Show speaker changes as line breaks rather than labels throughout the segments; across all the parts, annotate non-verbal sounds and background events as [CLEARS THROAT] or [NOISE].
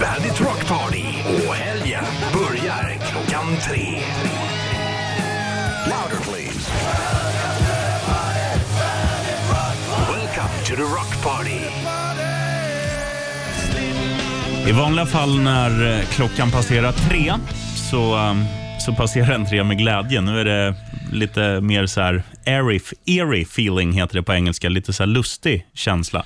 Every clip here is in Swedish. Bandit Rock Party och helgen börjar klockan tre. Louder please. Welcome to the Rock Party.
I vanliga fall när eh, klockan passerar tre så, eh, så passerar den tre med glädje. Nu är det lite mer så här airy, eerie feeling heter det på engelska. Lite så här lustig känsla.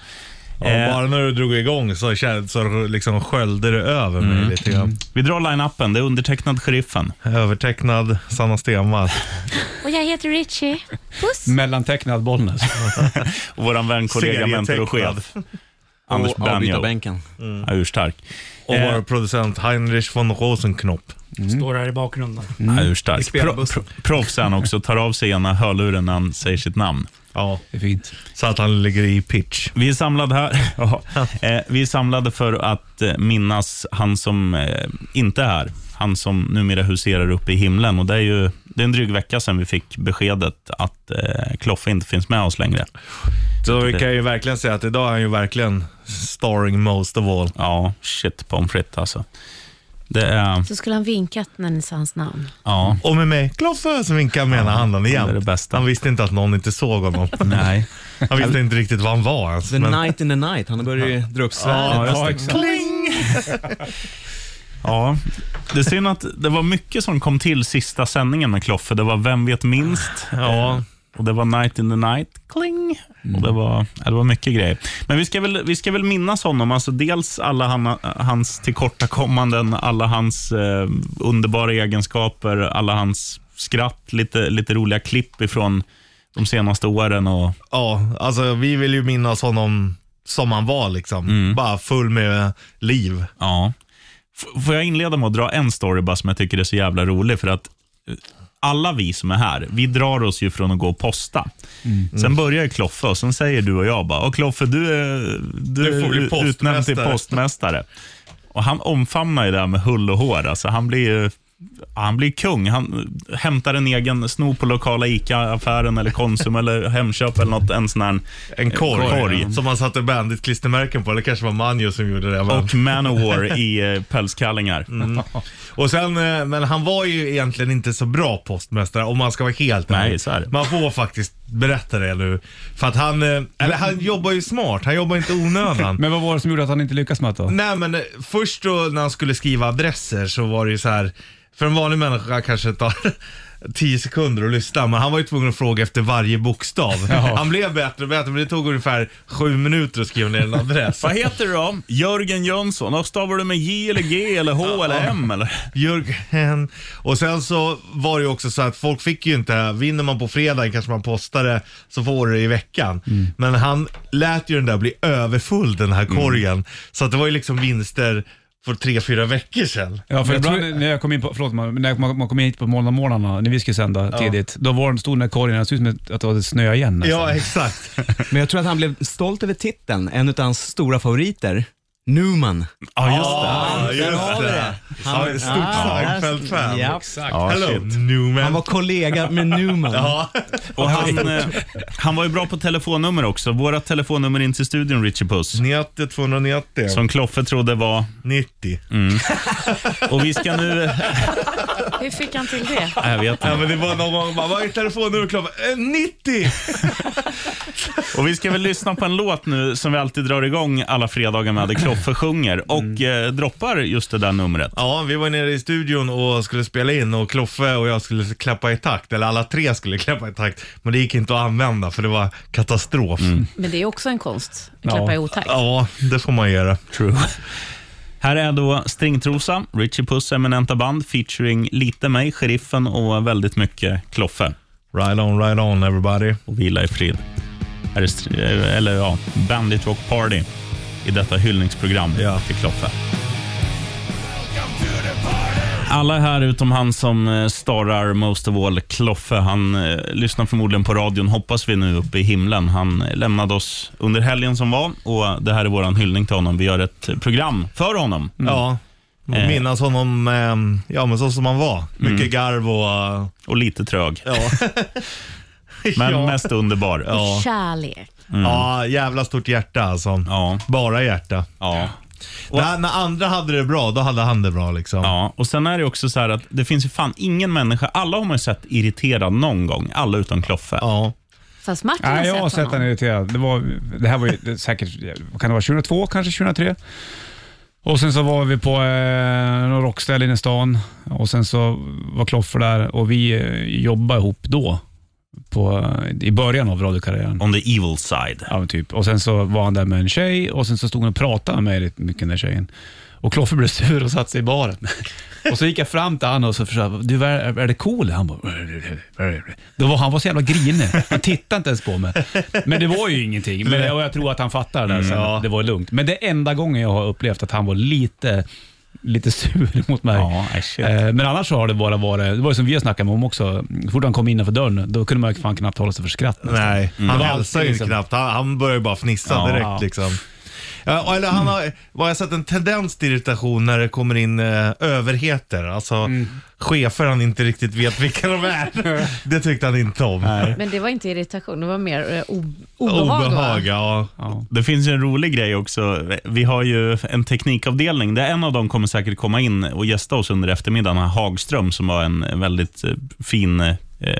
Ja,
Eh,
bara när du drog igång så, kän- så liksom sköljde det över mig lite grann.
vi drar line-upen. Det är undertecknad Sheriffen.
Övertecknad Sanna Stenmark.
Och jag heter Richie. Puss!
Mellantecknad Bollnäs.
Och vår vän, kollega, mentor och chef. Anders
Och avbyta
Benjo.
bänken.
Ja, urstark.
Och
Eh,
vår producent Heinrich von Rosenknopp.
Står här i bakgrunden.
Ja,
Mm. I
urstark. Pro,
spelbussen.
pro, proffs är han också. Tar av sig ena hörluren när han säger sitt namn.
Ja,
[LAUGHS] Det är fint.
så att han ligger i pitch.
Vi är samlade här. Ja. Eh, Vi är samlade för att eh, minnas han som eh, inte är här. Han som numera huserar uppe i himlen. Och det är ju det är en dryg vecka sedan vi fick beskedet att eh, Kloffe inte finns med oss längre.
Så vi kan ju verkligen säga att idag är han ju verkligen starring most of all.
Ja, shit pommes frites alltså. Det är,
Så skulle han vinkat när ni sa hans namn.
ja,
Och med mig, Kloffe, som vinkar menar han den
det är det
igen. Han
bästa.
visste inte att någon inte såg [LAUGHS] honom.
Nej.
Han visste inte riktigt vad han var ens.
The
Men,
night in the night. Han börjar ju dra upp
Ja,
svärdet.
just det. [LAUGHS] Ja, det är synd att det var mycket som kom till sista sändningen med Kloffe. Det var Vem vet minst? eh,
ja,
Och det var Night in the Night, kling. Och det, var, ja, det var mycket grejer. Men vi ska väl, vi ska väl minnas honom. Alltså dels alla han, hans tillkortakommanden, alla hans eh, underbara egenskaper, alla hans skratt, lite, lite roliga klipp ifrån de senaste åren. Och,
ja, alltså vi vill ju minnas honom som han var liksom. Bara full med liv.
ja. F- får jag inleda med att dra en story bara som jag tycker är så jävla rolig? För att eh, alla vi som är här, vi drar oss ju från att gå och posta.
Mm.
Sen börjar ju Kloffe och sen säger du och jag bara, och Kloffe du är, du
Du får bli
är utnämnd till
postmästare."
postmästare. Och han omfamnar ju det här med hull och hår. Alltså, han blir ju han blir kung. Han hämtar en egen, snor på lokala ICA-affären eller Konsum eller Hemköp eller något, en sån här
En korg,
korg.
som han satte bandit-klistermärken på. Eller kanske var Manjo som gjorde det. Men.
Och Manowar i eh, pälskallingar.
Mm. Och sen, eh, men han var ju egentligen inte så bra postmästare om man ska vara helt
Nej,
ärlig.
så är det.
Man får faktiskt berätta det nu. För att han, eh, eller han jobbar ju smart, han jobbar
[LAUGHS]
inte onödan.
Men vad var det som gjorde att han inte lyckades med det då?
Nej men eh, först då när han skulle skriva adresser så var det ju så här för en vanlig människa kanske tar [LAUGHS] 10 sekunder att lyssna, men han var ju tvungen att fråga efter varje bokstav.
Ja.
Han blev bättre och bättre, men det tog ungefär sju minuter att skriva ner
[LAUGHS]
en adress.
Vad heter du då? Jörgen Jönsson. Och stavar du med J eller G eller H eller M eller?
Jörgen. Och sen så var det ju också så att folk fick ju inte, vinner man på fredagen kanske man postar det, så får du det i veckan. Men han lät ju den där bli överfull den här korgen. Så att det var ju liksom vinster för tre, fyra veckor sedan.
Ja, för
Jag
ibland
tror-
när jag kom in på, förlåt, man- när man, man kom hit på morgnarna, när vi skulle sända tidigt, då var den stor den där korgen, det såg ut som att det hade snö igen nästan.
Ja, exakt.
Men jag tror att han blev stolt över titeln. En av hans stora favoriter. Newman.
Ja, just
Ja,
Där
just
har vi
det.
det.
Han är ett stort Seinfeld-fan.
Ja.
Ja,
Hello,
shit.
Han
Newman.
var kollega med Newman.
Ja.
Och han, eh, han var ju bra på telefonnummer också. Våra telefonnummer in till studion, Richie Puss,
90, 290,
som Kloffe trodde var...
90.
Och vi ska nu... eh,
Hur fick han till det?
Jag vet
Ja,
inte.
men det var någon gång, bara, vad är telefonnumret? Klockan? Eh, 90!
Och vi ska väl lyssna på en låt nu som vi alltid drar igång alla fredagar med, där Kloffe sjunger och eh, droppar just det där numret.
Ja, vi var nere i studion och skulle spela in och Kloffe och jag skulle klappa i takt, eller alla tre skulle klappa i takt, men det gick inte att använda för det var katastrof.
Mm.
Men det är också en konst, att klappa i otakt.
Ja, det får man göra.
True. Här är då Stringtrosa, Richie Puss eminenta band featuring lite mig, Sheriffen och väldigt mycket Kloffe.
Right on, right on everybody.
och vila i fred. Här är, str- eh, eller ja, Bandit Rock Party i detta hyllningsprogram
Ja.
till Kloffe. Alla är här utom han som eh, starrar Most of All, Kloffe. Han eh, lyssnar förmodligen på radion, hoppas vi nu, uppe i himlen. Han eh, lämnade oss under helgen som var och det här är vår hyllning till honom. Vi gör ett eh, program för honom. Eh.
Ja,
Mm.
minnas honom, eh, ja men så som han var. Mycket garv och... eh,
Och lite trög,
Ja.
[LAUGHS] men
ja.
mest underbar.
Ja.
Kärlek.
ja, jävla stort hjärta alltså.
Mm. Ja,
Bara hjärta.
ja.
När, när andra hade det bra, då hade han det bra liksom.
Ja, och sen är det också så här att det finns ju fan ingen människa, alla har man ju sett irriterad någon gång, alla utom Kloffe.
Ja.
Fast Martin
Nej, jag har
har
sett honom irriterad. Det, var, det här var ju det, säkert, vad kan det vara, 2002, kanske 2003? Och sen så var vi på eh, någon rockställe inne i stan och sen så var Kloffer där och vi eh, jobbade ihop då, på, eh, i början av radiokarriären.
On the evil side.
Ja, men typ. Och sen så var han där med en tjej och sen så stod hon och pratade med mig lite mycket, den där tjejen. Och Kloffer blev sur och satte sig
[LAUGHS]
i baren. Och så gick jag fram till honom och så försökte, du är, är det cool? Han bara, Då var, han var så jävla grinig. Han tittade inte ens på mig. Men det var ju ingenting. Men jag, jag tror att han fattade
Mm,
det där sen.
Ja.
Det var lugnt. Men det är enda gången jag har upplevt att han var lite, lite [LAUGHS] sur mot mig.
Ja, nej, shit.
Eh, Men annars så har det bara varit, det var ju som vi har snackat om också, så fort han kom innanför dörren, då kunde man ju fan knappt hålla sig för skratt. nästan.
Nej, han
Det var
hälsar ju
alltid liksom-
knappt. Han, han börjar ju bara fnissa
Ja.
direkt liksom. Ja, och- eller han har, vad jag har sett en tendens till irritation när det kommer in eh, överheter. Alltså chefer han inte riktigt vet vilka de är. Det tyckte han inte om.
Men det var inte irritation, det var mer eh, o- obehag.
Obehag,
obehag
ja.
Det finns ju en rolig grej också. Vi har ju en teknikavdelning. Där en av dem kommer säkert komma in och gästa oss under eftermiddagen. Han Hagström som var en väldigt eh, fin eh,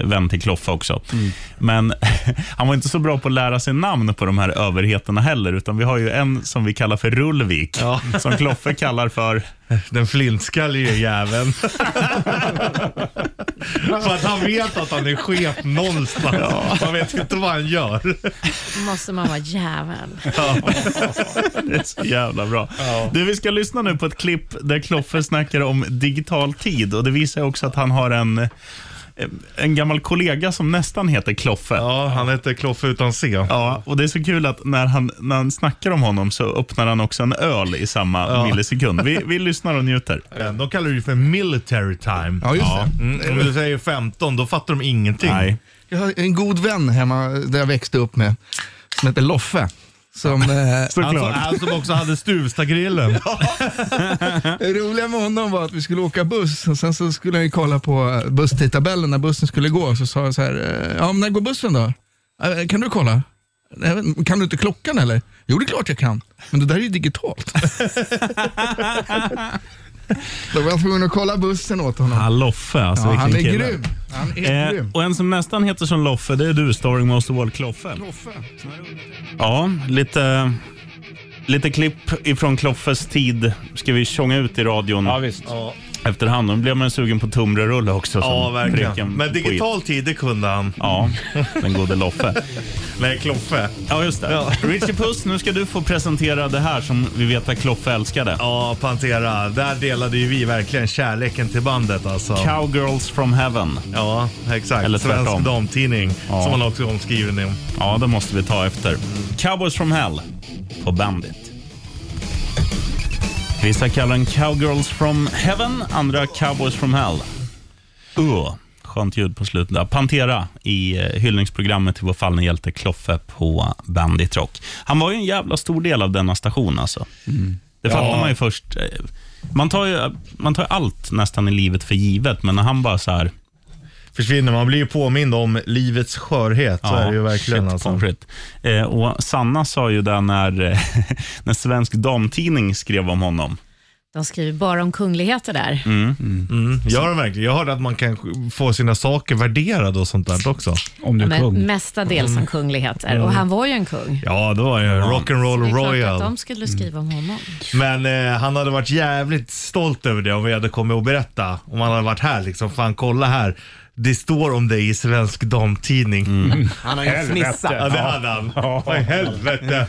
vän till Kloffa också.
Mm.
Men [LAUGHS] han var inte så bra på att lära sig namn på de här överheterna heller. Utan vi har ju en som vi kallar för Rullvik. [LAUGHS] Som Kloffe kallar för...
Den flintskallige
[LAUGHS]
jäveln. För att han vet att han är chef någonstans. Man vet inte vad han gör.
Måste man vara jävel.
Det är så jävla bra. Du, vi ska lyssna nu på ett klipp där Kloffe snackar om digital tid. Och Det visar också att han har en, en gammal kollega som nästan heter Kloffe.
Ja, han heter Kloffe utan C.
Ja, och det är så kul att när han, när han snackar om honom så öppnar han också en öl i samma millisekund. Vi, vi lyssnar och njuter.
De kallar det ju för military time.
Ja, just det.
Mm, om du säger 15, då fattar de ingenting.
Nej.
Jag har en god vän hemma där jag växte upp med, som heter Loffe. Som,
[LAUGHS]
eh,
Han som, han som också hade Stuvstagrillen.
det roliga med honom var att vi skulle åka buss och sen så skulle han ju kolla på eh, busstidtabellen när bussen skulle gå. Så sa jag så här, eh, ja, men när går bussen då? Eh, Kan du kolla? "Nej, men Kan du inte klockan eller? Jo, det är klart jag kan. Men det där är ju
[LAUGHS]
digitalt. då var jag tvungen att kolla bussen åt honom.
Han Loffe, alltså
Ja, han är
vilken
grym. Han är
Eh,
grym.
och en som nästan heter som Loffe, det är du, Starring Most of All Kloffe.
Loffe.
Ja, lite, lite klipp ifrån Kloffes tid ska vi tjonga ut i radion
Ja, visst.
efterhand. Nu blev man sugen på tunnbrödsrulle också. som
Ja,
preken
verkligen. Men
på
digital tid, det kunde han.
it. Ja, den gode Loffe.
Nej, Kloffe.
Ja, just det. Richie Puss, nu ska du få presentera det här som vi vet att Kloffe älskade.
Ja, Pantera. Där delade ju vi verkligen kärleken till bandet alltså.
Cowgirls from heaven.
Ja, exakt.
Eller tvärtom.
Svensk damtidning,
Ja.
som han också är omskriven i.
Ja, det måste vi ta efter. Cowboys from hell på Bandit. Vissa kallar den Cowgirls from heaven, andra Cowboys from hell. Uh, skönt ljud på slutet där. Pantera i eh, hyllningsprogrammet till vår fallne hjälte Kloffe på Bandit Rock. Han var ju en jävla stor del av denna station alltså. Det fattar man ju först. eh, Man tar ju, man tar ju allt nästan i livet för givet, men när han bara så här
Försvinner, man blir ju påmind om livets skörhet. så är det ju verkligen
shit,
alltså.
pommes frites. Eh, och Sanna sa ju det när, eh, [LAUGHS] när Svensk Damtidning skrev om honom.
De skriver bara om kungligheter där.
Mm.
Gör de verkligen? Jag hörde att man kan få sina saker värderade och sånt där också.
Om du är
Men
kung. Mm.
mestadels som kungligheter. Och han var ju en kung.
Ja, det var ju
Det
rock'n'roll
är klart
royal.
att de skulle skriva om honom.
Men eh, han hade varit jävligt stolt över det om vi hade kommit och berätta. Om han hade varit här liksom. Fan kolla här. Det står om dig i Svensk Damtidning.
Mm.
Han har ju
Ja,
fnissat.
det hade han.
Ja.
Vad i helvete.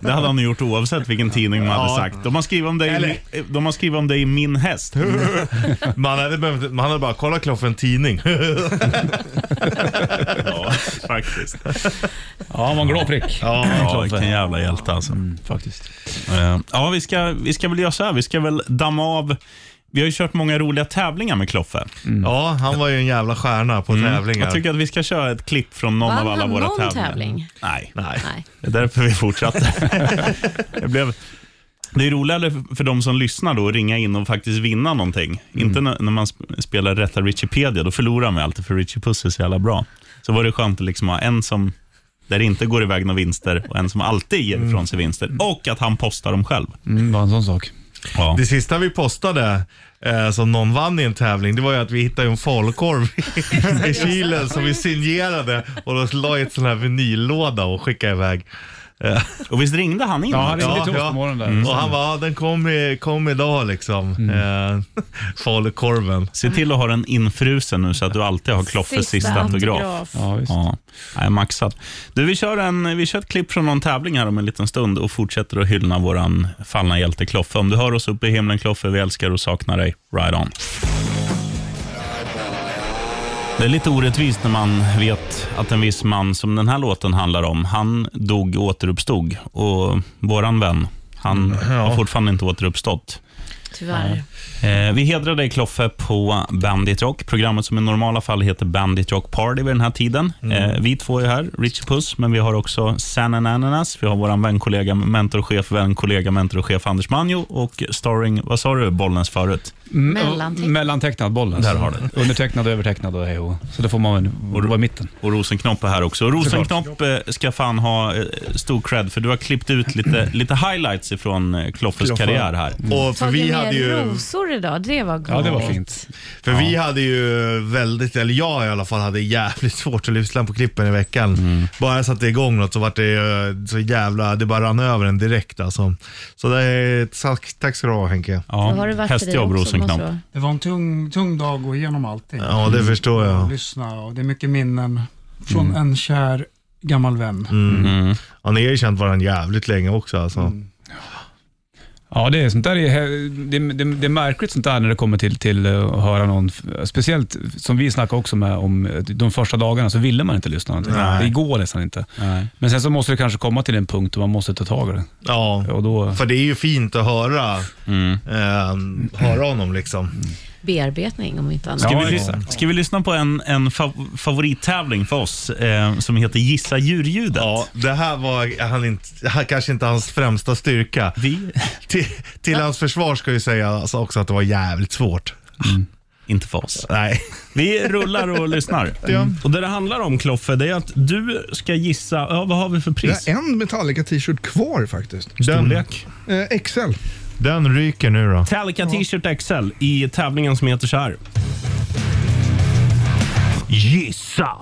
Det hade han gjort oavsett vilken tidning man hade
Ja.
sagt. De har skrivit om dig,
Eller-
i, eh, de har skrivit om dig i Min häst.
Man hade, behövt, man hade bara kollat klart för en tidning. [LAUGHS]
Mm. ja, faktiskt.
Ja, han var en glad prick.
Ja, vilken jävla hjälte alltså.
Mm,
Faktiskt.
Eh, Ja, vi ska, vi ska väl göra så här. Vi ska väl damma av vi har ju kört många roliga tävlingar med Kloffe.
Ja, han var ju en jävla stjärna på tävlingar.
Jag tycker att vi ska köra ett klipp från någon
Vann
av alla
han
våra
någon
tävlingar.
tävling?
Nej.
Nej.
Nej.
Det är därför vi [LAUGHS] fortsatte. det, blev, det är roligare för de som lyssnar då att ringa in och faktiskt vinna någonting. Inte när, när man sp- spelar rätta Richipedia, då förlorar man ju alltid för Richie Puss är så jävla bra. Så var det skönt att liksom ha en som där det inte går iväg några vinster och en som alltid ger ifrån sig vinster. Och att han postar dem själv.
Mm, bara en sån sak.
Ja.
Det sista vi postade eh, som någon vann i en tävling, det var ju att vi hittade en falukorv i- i kylen som vi signerade och då la i ett sån här vinyllåda och skickade iväg.
Och visst ringde han in?
Ja, han ringde
Ja,
till oss
ja. Mm.
på morgonen där.
Och han bara, "Ja, den kom, i, kom idag liksom. Eh, falukorven.
Se till att ha den infrusen nu så att du alltid har Kloffes sista, autograf.
Ja, visst.
Ja, jag är maxad. Du, vi, kör en, vi kör ett klipp från någon tävling här om en liten stund och fortsätter att hylla våran fallna hjälte Kloffe. Om du hör oss uppe i himlen Kloffe, vi älskar och saknar dig. Right on. Det är lite orättvist när man vet att en viss man som den här låten handlar om, han dog och återuppstod. Och våran vän, han har fortfarande inte återuppstått.
Tyvärr.
Eh, vi hedrar dig Kloffe på Bandit Rock. Programmet som i normala fall heter Bandit Rock Party vid den här tiden. Eh, vi två är här, Richie Puss, men vi har också San Ananas. Vi har vår vänkollega, mentorchef, vänkollega, mentorchef Anders Manjo och starring, vad sa du, Bollnäs förut?
Mellantecknad.
Mellantecknad bollen. Där har du. Undertecknad, övertecknad och hej och Så det får man väl vara i mitten.
Och Rosenknopp är här också. Och Rosenknopp eh, ska fan ha eh, stor cred för du har klippt ut lite, lite highlights ifrån eh, Kloffes karriär här.
Och för vi
Tagit
hade
med
ju...
rosor idag, det var gott.
Ja, det var fint.
För vi hade ju väldigt, eller jag i alla fall, hade jävligt svårt att lyssna på klippen i veckan.
Mm.
Bara jag satte igång något så vart det eh, så jävla, det bara rann över en direkt alltså. Så det är, tack, tack ska du ha Henke.
Ja,
Då har det varit för dig
hästjobb
också, måste
Rosenknopp.
det vara.
Det var en tung, tung dag att gå igenom allting.
Ja, det förstår
Mm.
jag.
Lyssna och det är mycket minnen från en kär gammal vän.
Mm.
Ja, ni har ju känt varandra jävligt länge också alltså.
Ja, det är sånt där är, det, det, det är märkligt sånt där när det kommer till, till eh, att höra någon, speciellt som vi snackade också med om eh, de första dagarna så ville man inte lyssna någonting.
Nej.
Det går nästan inte.
Nej.
Men sen så måste det kanske komma till en punkt då man måste ta tag i det.
Ja,
Och då,
för det är ju fint att höra,
Mm.
eh, höra honom liksom.
Bearbetning om inte annat.
Ska,
Ja,
vi, lyssna, ska vi lyssna på en, en fa- favorittävling för oss eh, som heter Gissa djurljudet?
Ja, det här var han inte, han, kanske inte hans främsta styrka.
Vi,
Till, till hans försvar ska jag ju säga alltså också att det var jävligt svårt.
inte för oss.
Nej.
Vi rullar och lyssnar.
Och det det handlar om Kloffe, det är att du ska gissa, ja, vad har vi för
Jag
pris?
har en Metallica t-shirt kvar faktiskt.
Storlek.
Eh, XL.
Den ryker nu då.
Metallica T-shirt XL i tävlingen som heter så här. Gissa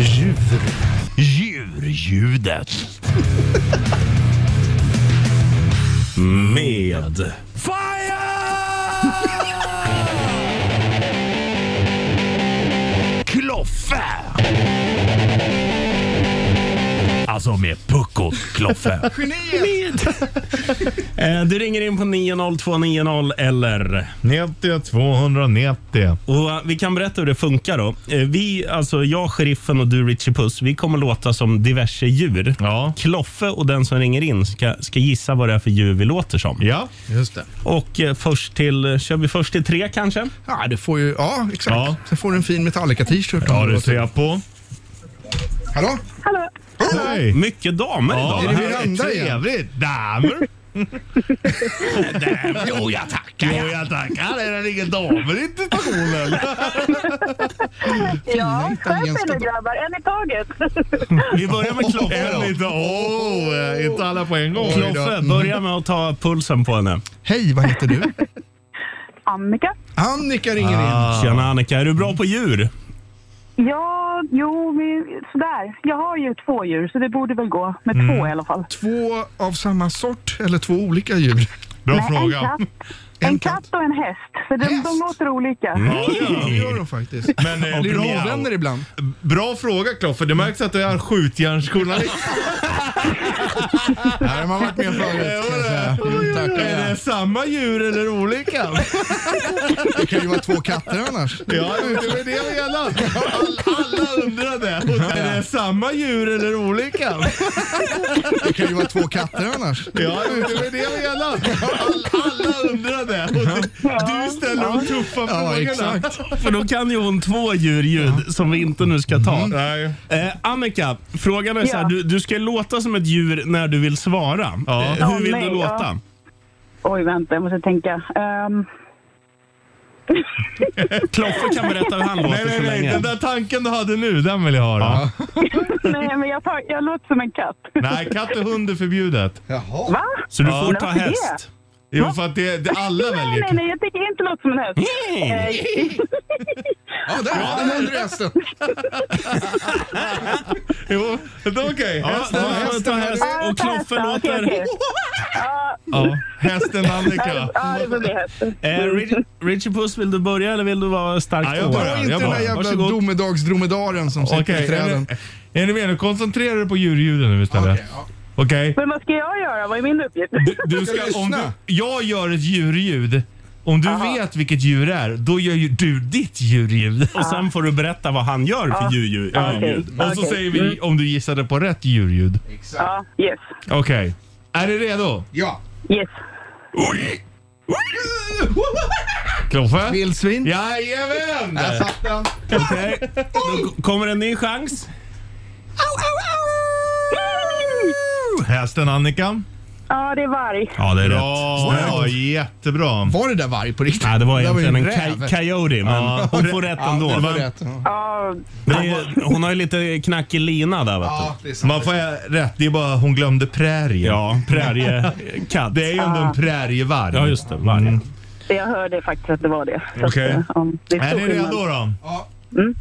djur, djurljudet. Med Fire! Kloffe! Alltså med puckot Kloffe. Eh, Du ringer in på 90290 eller
90 290.
och eh, vi kan berätta hur det funkar då. Eh, Vi, alltså jag, sheriffen och du Richie Puss, vi kommer låta som diverse djur.
Ja.
Kloffe och den som ringer in ska, ska gissa vad det är för djur vi låter som.
Ja.
Just det.
Och eh, först till, eh, kör vi först till tre kanske?
Ja, du får ju, ja exakt.
Ja.
Sen får du en fin Metallica t-shirt. om du låter-
på.
Hallå?
Hej!
Mycket damer
Ja,
idag.
det
det
här är
Miranda igen?
trevligt. Damer. Damer. Jo, jag tackar. Jo, jag tackar. Är det ingen damer inte på stationen?
Ja,
italienska
sköt er nu grabbar, en i taget. [LAUGHS]
Vi börjar med Kloffe
En
då.
inte. Åh, eh, inte alla på en gång.
Kloffe, börja med att ta pulsen på henne.
Hej, vad heter [LAUGHS] du?
Annika?
Annika ringer in.
Tjena Annika, är du bra på djur?
Ja, jo, vi, sådär. Jag har ju två djur så det borde väl gå med
Mm.
två i alla fall.
Två av samma sort eller två olika djur?
Mm. Bra
Nej, en
fråga.
katt. En, katt och en häst, för de, de
Häst?
låter olika.
Mm.
Det gör de faktiskt.
Men, eh,
Blir de
bra-
ovänner ibland?
Bra fråga Kloffe. Det märks att du är skjutjärnsjournalist.
Nej, de har varit med förut. kan jag säga. Mm, tack.
Är det samma djur eller olika?
Det kan ju vara två katter annars.
Ja, det var det jag menade. Alla undrade. Är det samma djur eller olika?
Det kan ju vara två katter annars.
Ja, det var det jag menade. Alla undrade. Du ställer de tuffa
Ja,
frågorna.
exakt.
För då kan ju hon två djurljud som vi inte nu ska ta.
Nej.
Eh, Annika, frågan är så här.
Ja.
Du, du ska låta som ett djur när du vill svara.
Ja.
Eh, hur vill
Ja,
du
nej,
låta?
Oj, vänta, jag måste tänka. Ehm,
Kloffe kan berätta hur han
Nej,
låter
nej,
så
nej. Den
länge.
där tanken du hade nu, den vill jag höra.
[LAUGHS] Nej, men jag, tar, jag låter som en katt.
Nej, katt och hund är förbjudet.
Va?
Så du får
Ja.
ta
Varför det?
häst.
Jo, för att det, det alla
Nej,
väljer
nej, nej, jag tycker inte låta som en häst. Eh,
Ja, där har den under resten.
Jo, det är okej.
Ja,
Hästen,
du får ta häst.
ja,
Och
ta
Kloffe
hästen. Okej,
låter...
okej. Ja,
ja,
[LAUGHS]
hästen Annika.
ja, ja, det får bli häst.
Eh, Rich- Richie Puss, vill du börja eller vill du vara starkt
Ja, jag
på?
börjar.
Inte den där jävla
Varsågod. eh,
domedagsdromedaren som sitter
Okej,
i
är,
träden.
ni- är ni med nu? Koncentrera dig på djurljuden nu istället. Okej.
Men vad ska jag göra? Vad är min uppgift?
Du
Ska
ska,
jag
om
lyssna?
du, jag gör ett djurljud. Om du vet vilket djur det är, då gör ju du ditt djurljud.
Och sen får du berätta vad han gör för djurljud.
Ja, okej.
djurljud.
Och så
Okej. Mm.
säger vi om du gissade på rätt djurljud.
Ja, yes.
Okej. Är ni redo?
Ja.
Yes.
Kloffe?
Vildsvin.
Jajamän!
Där satt den.
Okej, då kommer en ny chans.
Hästen Annika.
Ja, det är varg.
Ja, det är
Bra, ja, jättebra.
Var det där varg på riktigt?
Nej, det var egentligen en
räv.
coy- coyote, men
Ja.
hon får rätt
Ja, det
ändå.
var rätt. Ja.
Ja,
Det är, hon har ju lite knackig lina där, vet du.
Ja, det är sant.
Man får eh, rätt, det är bara hon glömde prärien.
Ja, präriekatt.
Det är ju
Ah.
ändå en prärievarg.
Ja, just det. Vargen.
jag hörde faktiskt att det var det. Så att,
Okej.
eh, ja, det är
Är
stor
ni redo
skillnad.
då? Mm.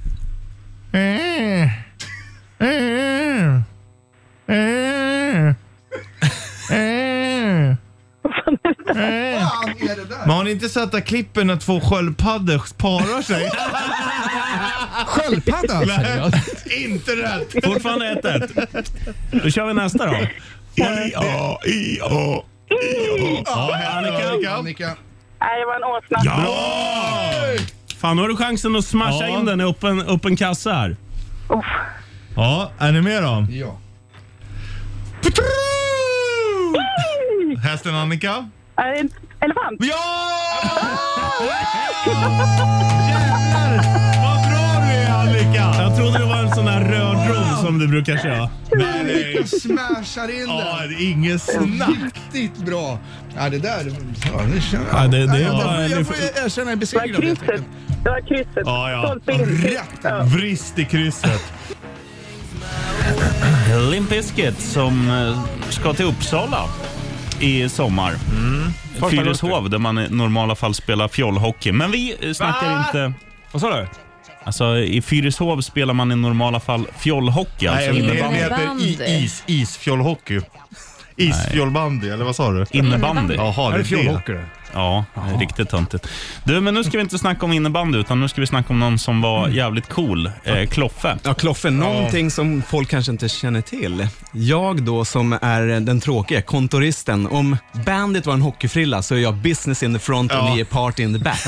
Ja.
Eh.
Mm. Fan är det där?
Eh. Men har ni inte sett att klippen när två sköldpaddor parar sig?
Sköldpadda alltså.
Nej, inte rätt!
Fortfarande 1-1. Då kör vi nästa då.
Ja, ja, ja.
Annika.
Annika.
Annika.
Nej, det var en åsna.
Fan, nu har du chansen att smasha
Ja.
in den i öppen, öppen kassa här.
Uff.
Ja, är ni med då?
Ja.
Hästen Annika.
Är det en elefant?
Ja! Jävlar! Vad bra du är Annika!
Jag trodde det var en sån där röd rom som du brukar köra.
Nej, nej.
Smashar in
eh, Ja,
den.
det är inget snack.
Riktigt bra. Ja, det där... Ja, det känner jag.
Ja, det- det
jag,
var-
får-
det-
jag får erkänna, jag är
Det var
besegrad helt
krysset.
enkelt.
Det var krysset.
Ja, ja.
Stolpe in.
Rätt.
Ja.
Brist i krysset.
Limp Bizkit som eh, ska till Uppsala i sommar. Fyrishov där man i normala fall spelar fjollhockey. Men vi eh, snackar inte...
Vad sa du?
Alltså i Fyrishov spelar man i normala fall fjollhockey. Alltså
Nej, det, det
innebandy.
heter i- is, isfjollhockey. Isfjollbandy, eller vad sa du?
Innebandy.
Jaha, det är det.
Ja, det är riktigt töntigt. Du, men nu ska vi inte snacka om innebandy utan nu ska vi snacka om någon som var jävligt cool. Eh, Kloffe.
Ja, Kloffe, någonting som folk kanske inte känner till. Jag då som är den tråkiga, kontoristen. Om bandit var en hockeyfrilla så är jag business in the front och ni är party in the back.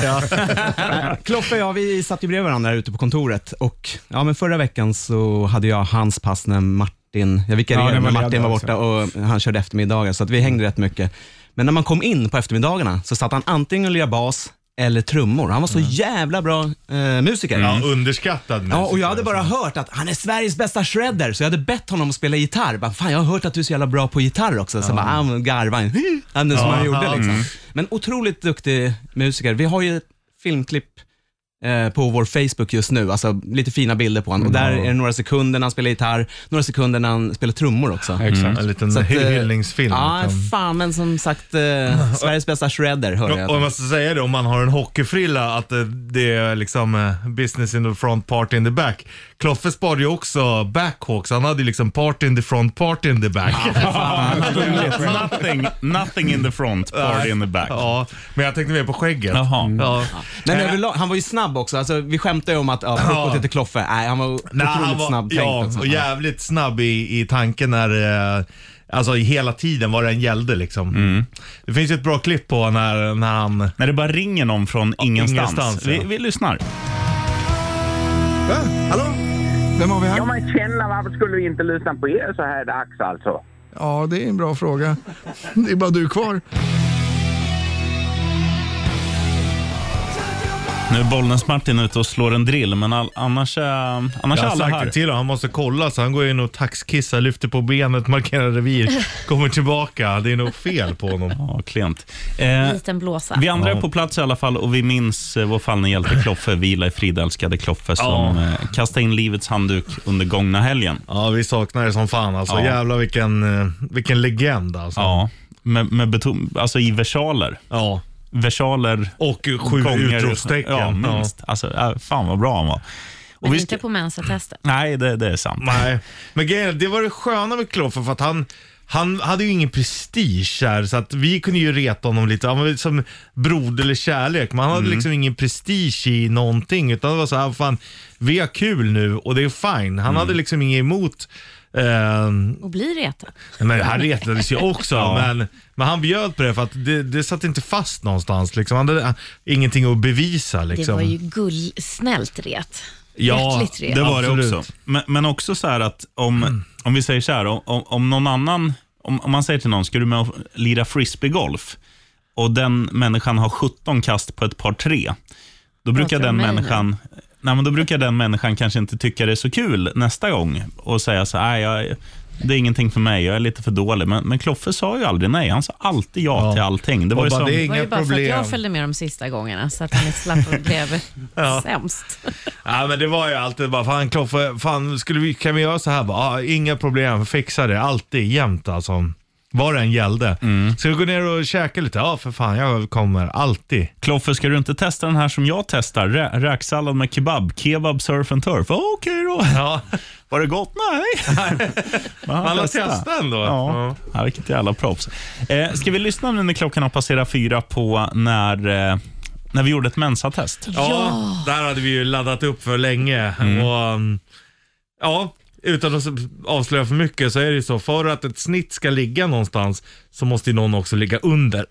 [LAUGHS] Kloffe och jag, vi satt ju bredvid varandra ute på kontoret och ja, men förra veckan så hade jag hans pass när Martin, jag
Ja,
vikarierade
när
när
man
Martin
ledde
var borta och han körde eftermiddagar så att vi hängde rätt mycket. Men när man kom in på eftermiddagarna så satt han antingen och lirade bas eller trummor. Han var så jävla bra eh, musiker.
Ja, underskattad
Ja, och jag hade
musiker.
bara hört att han är Sveriges bästa shredder, så jag hade bett honom att spela gitarr. Bara, Fan, jag har hört att du är så jävla bra på gitarr också. Så bara, han [LAUGHS] garvade, han, som han gjorde
ja, Mm.
liksom. Men otroligt duktig musiker. Vi har ju ett filmklipp eh, på vår Facebook just nu, alltså lite fina bilder på honom. Och där är det några sekunder när han spelar gitarr, några sekunder när han spelar trummor också.
Exakt.
Mm. En liten
Så att, eh,
hyllningsfilm.
Ja,
liksom.
fan, men som sagt,
[LAUGHS]
eh, Sveriges bästa shredder hörde
Och- Och jag
jag.
måste säga det, om man har en hockeyfrilla, att eh, det är liksom eh, business in the front, party in the back. Kloffe sparade ju också backhawks, han hade ju liksom party in the front, party in the back.
nothing, nothing in the front, party in the back.
ja, men jag tänkte mer på skägget.
Jaha. Mm.
Ja. Eh,
Men överlag, han var ju snabb också. Alltså, vi skämtade ju om att, ja, puckot heter Kloffe. Nej, han var otroligt
Nej, han var,
snabb
ja,
tänkt också.
och jävligt snabb i, i tanken när, eh, alltså i hela tiden vad den gällde liksom.
Mm.
Det finns ju ett bra klipp på när, när han,
När det bara ringer någon från ingenstans.
ingenstans, ja.
vi, vi lyssnar.
Va? Hallå? Vem har vi här?
man känner, varför skulle du inte lyssna på er så här dags alltså?
Ja, det är en bra fråga. Det är bara du kvar.
Nu är Bollnäs-Martin ute och slår en drill, men all, annars, eh, annars
Jag
är
har
alla
sagt det
här.
till honom, han måste kolla så han går in och taxkissar, lyfter på benet,
[LAUGHS]
markerar revir, kommer tillbaka. Det är nog fel på honom.
Ja, klent. Eh,
Liten blåsa.
vi andra är på plats i alla fall och vi minns eh, vår fallne hjälte Kloffe, vila i frid älskade Kloffe, som
Ja.
eh, kastade in livets handduk under gångna helgen.
Ja, vi saknar det som fan alltså.
Ja.
Jävlar vilken, eh, vilken legend alltså.
Ja, med, med beton, alltså i versaler.
Ja.
Versaler.
Och sju utropstecken.
Ja, minst. Alltså, äh, fan vad bra han var.
Men
Och vi
inte
ska,
på mensatestet.
nej, det, det är sant.
Nej, men grejen är, det var det sköna med Kloffer för att han han hade ju ingen prestige här, så att vi kunde ju reta honom lite. Han var lite som broder eller kärlek, men han
Mm.
hade liksom ingen prestige i någonting. Utan det var så här, fan, vi har kul nu och det är fine.
Mm.
Han hade liksom inget emot eh,
Och blir retad.
men han [LAUGHS] retades ju också,
Ja.
men, men han bjöd på det för att det, det satt inte fast någonstans. Liksom. Han hade eh, ingenting att bevisa.
Det
Liksom.
var ju gull, snällt ret.
Ja,
Hjärtligt ret.
Det var
Absolut. Mm.
det också. Men, men också så här att om, om vi säger så här, om- om, om någon annan, om, om man säger till någon, ska du med och lira frisbeegolf? Och den människan har 17 kast på ett par tre. Då
Pratar
brukar
du
den
om mig nu?
människan Nej, men då brukar den människan kanske inte tycka det är så kul nästa gång och säga så här, "Nej, jag, det är ingenting för mig, jag är lite för dålig. Men, men Kloffe sa ju aldrig nej, han sa alltid ja,
Ja.
till allting. Det var
Och
ju
bara,
som,
det är
Det var ju
inga
bara för att
problem.
jag följde med de sista gångerna så att han slapp och blev sämst.
Ja men det var ju alltid bara, fan Kloffe, fan skulle vi, kan vi göra så här? Bara, ah, inga problem, fixa det. Alltid, jämt alltså. Vad det än gällde. Ska vi gå ner och käka lite? Ja för fan, jag kommer alltid.
Kloffe, ska du inte testa den här som jag testar? Rä- räksallad med kebab, kebab, surf and turf. Okej då.
Ja,
Var det gott? [LAUGHS] Nej. Men han
man har
testade.
testat ändå.
Ja. ja, vilket jävla proffs. Eh, ska vi lyssna nu när klockan har passerat fyra på när, eh, när vi gjorde ett mensatest?
Ja. ja, där hade vi ju laddat upp för länge. Och, um, ja, utan att avslöja för mycket så är det ju så, för att ett snitt ska ligga någonstans så måste ju någon också ligga [LAUGHS] under.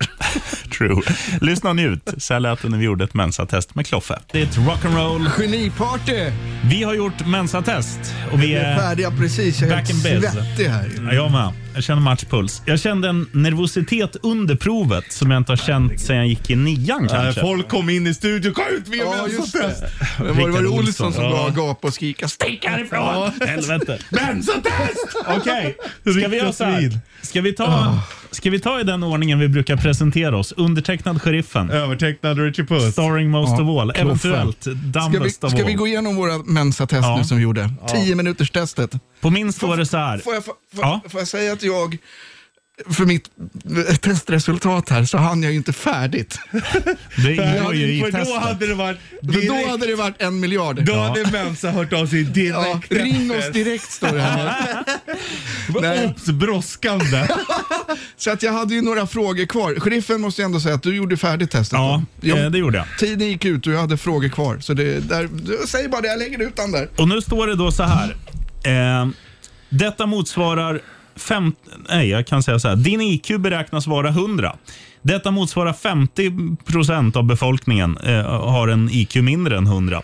True. Lyssna och njut. Så här lät det när vi gjorde ett mensatest med Kloffe. Det är ett rock'n'roll.
Geniparty!
Vi har gjort mensatest och vi
Vi är
är...
färdiga precis. Jag är
Back
helt
in biz.
svettig här. ju.
Ja, jag med. Jag känner matchpuls. Jag kände en nervositet under provet som jag inte har känt sedan jag gick i nian
Äh,
kanske.
Folk kom in i studion, kom ut, vi har
Ja, just
mensatest!
det. Men var det var
Rickard
det
Olsson,
Olsson som
ja.
bara gapade och skrika stick härifrån?
Ja, helvete.
Mensatest!
Okej, ska vi göra så här?
Riktigt
Ska vi,
Ah.
ta, ska vi ta i den ordningen vi brukar presentera oss? Undertecknad Sheriffen,
Övertecknad Richie Puss.
starring most
Ja,
of all,
Kloffe.
eventuellt
Ska vi,
dumbest of
ska vi
all.
gå igenom våra mensatest
Ja.
nu som vi gjorde? Tio minuters testet.
På min står det så här.
Får jag, får, får,
Ja.
får jag säga att jag, för mitt eh, testresultat här, så hann jag ju inte färdigt.
Det ingår ju i
För då
testet.
hade det varit
För
direkt,
då hade det varit en miljard.
då hade Mensa hört av sig
Ja,
direkt.
ring oss direkt står det här. Nej,
Obs, brådskande.
så att jag hade ju några frågor kvar. Sheriffen måste jag ändå säga att du gjorde färdigt testet.
Ja,
då. Jo,
eh, det gjorde jag.
Tiden gick ut och jag hade frågor kvar. Så det, där, du, säg bara det, jag lägger ut den där.
Och nu står det då så här. Eh, detta motsvarar... Fem, nej, jag kan säga så här. Din IQ beräknas vara 100. Detta motsvarar 50 procent av befolkningen eh, har en IQ mindre än 100.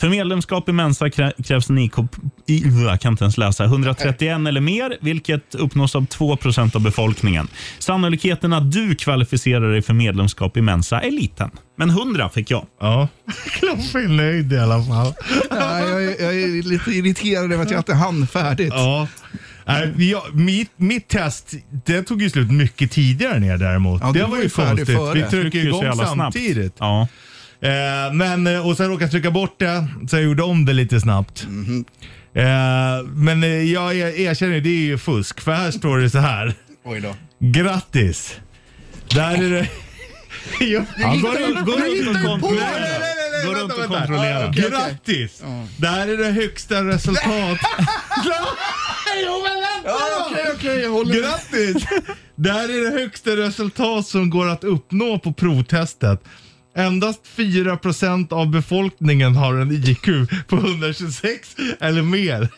För medlemskap i Mensa krä- krävs en IQ i, jag kan inte ens läsa, 131 eller mer, vilket uppnås av 2 procent av befolkningen. Sannolikheten att du kvalificerar dig för medlemskap i Mensa är liten. Men 100 fick jag.
[LAUGHS] Ja. Kloffe är nöjd i alla fall.
Ja, jag, är- jag är lite irriterad över att jag inte hann färdigt.
Ja. Nej, jag, mitt, mitt test det tog ju slut mycket tidigare ner däremot.
Ja,
det
du
var,
var
ju
ju färdig
konstigt.
före.
Vi
Jag
trycker
Gick
ju
ju så
igång
jävla snabbt.
samtidigt.
Ja.
Eh, men, eh, och sen råkade jag trycka bort det, så jag gjorde om det lite snabbt.
Mhm.
Eh, men eh, jag er- erkänner, det är ju fusk. För här står det så här.
[LAUGHS] Oj då.
Grattis! Där
[LAUGHS]
är det... Jo,
Han går
hittar-
ut, går
du
ut
hittar ju
och
på
kontrollerar.
det! Nej, nej, nej, nej,
Går
vänta,
runt och
vänta.
kontrollerar.
okej.
Grattis! Där är det
[LAUGHS]
högsta resultat.
Ja, okej, okej, jag håller med.
[LAUGHS] Grattis! Där är det högsta resultat som går att uppnå på provtestet. Endast 4% av befolkningen har en IQ på 126 eller mer.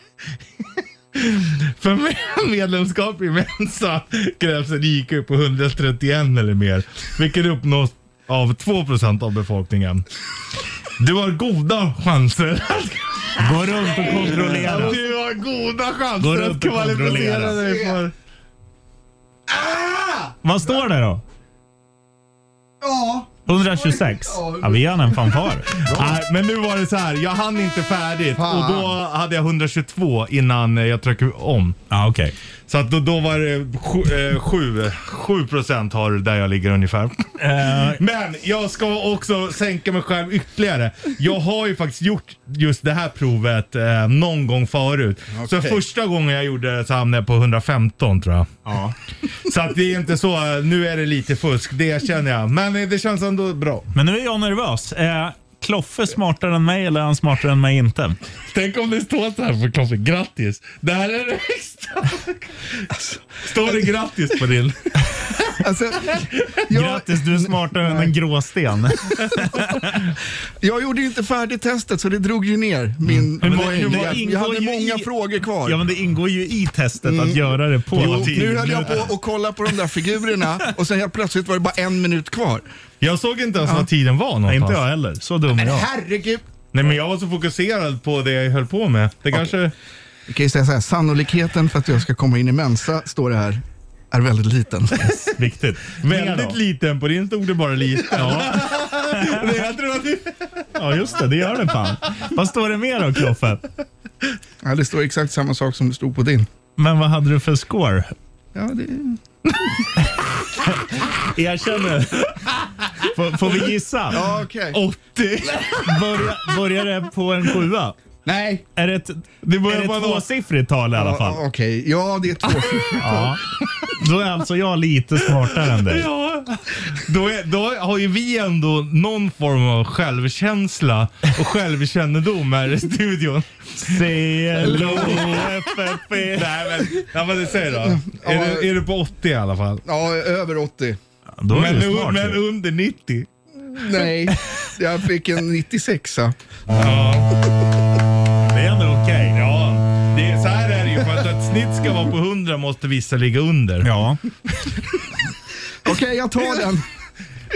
För med- medlemskap i Mensa krävs en IQ på 131 eller mer, vilket uppnås av 2% av befolkningen. Du har goda chanser.
Går runt och kontrollerar.
Du har
Går
goda chanser
upp
att
och
kvalificera
kontrollera.
dig för...
Vad står det då?
Ja,
126. Ja, vi gör en fanfar.
Nej, men nu var det så här. Jag hann inte färdigt och då hade jag 122 innan eh, jag tryckte om.
Ja, okej.
Så att då, då var det 7, 7 procent har där jag ligger ungefär. Men jag ska också sänka mig själv ytterligare. Jag har ju faktiskt gjort just det här provet eh, någon gång förut. Så
Okej.
första gången jag gjorde det så hamnade jag på 115 tror jag.
Ja.
Så att det är inte så, eh, nu är det lite fusk, det känner jag. Men eh, det känns ändå bra.
Men nu är jag nervös. Eh, Kloffe smartare än mig eller är han smartare än mig inte?
Tänk om det står så här för Kloffe, grattis. Det här är det högsta. Står det grattis på din?
Alltså,
Grattis, du är smartare än en gråsten.
Jag gjorde ju inte färdigt testet så det drog ju ner min
Ja, men det-
poäng.
det
Jag-
ingår
jag hade
ju
många
i-
frågor kvar.
Ja, men det ingår ju i testet att göra det på
Jo,
tid.
nu höll jag på att kolla på de där figurerna och sen helt plötsligt var det bara en minut kvar.
Jag såg inte ens vad tiden
Nej,
var någonstans.
inte jag heller. Så dum är jag.
Herregud.
Nej men jag var så fokuserad på det jag höll på med. Det kanske...
Vi kan ju säga så här, sannolikheten för att jag ska komma in i Mensa, står det här, är väldigt liten.
Viktigt.
Väldigt liten, på din stod det bara liten.
Ja.
Men jag tror att [LAUGHS] det...
ja, just det. Det gör det fan. Vad står det mer då, Kloffe?
Ja, det står exakt samma sak som det stod på din.
Men vad hade du för score?
Ja, det...
Erkänner. [LAUGHS] Får, får vi gissa?
Ja, okej.
80.
Börja, börjar det på en sjua?
Nej.
Är det ett, det
börjar
är det
på
ett
något.
tvåsiffrigt tal i alla fall?
Ja, Okej, ja det är två.
Ja. Då är alltså jag lite smartare än dig.
Ja. Då, är, då har ju vi ändå någon form av självkänsla och självkännedom här i studion.
CLOFFP.
Nej men, ja, men det säger då. Är, du, är du på 80 i alla fall?
Ja, över 80.
Då är
Men,
du
un-
smart.
men
ju.
under 90?
Nej, jag fick en 96
Det är ändå okej.
Ja, det är, så här är det ju. För att ett snitt ska vara på 100 måste vissa ligga under.
Ja.
Okej, jag tar den.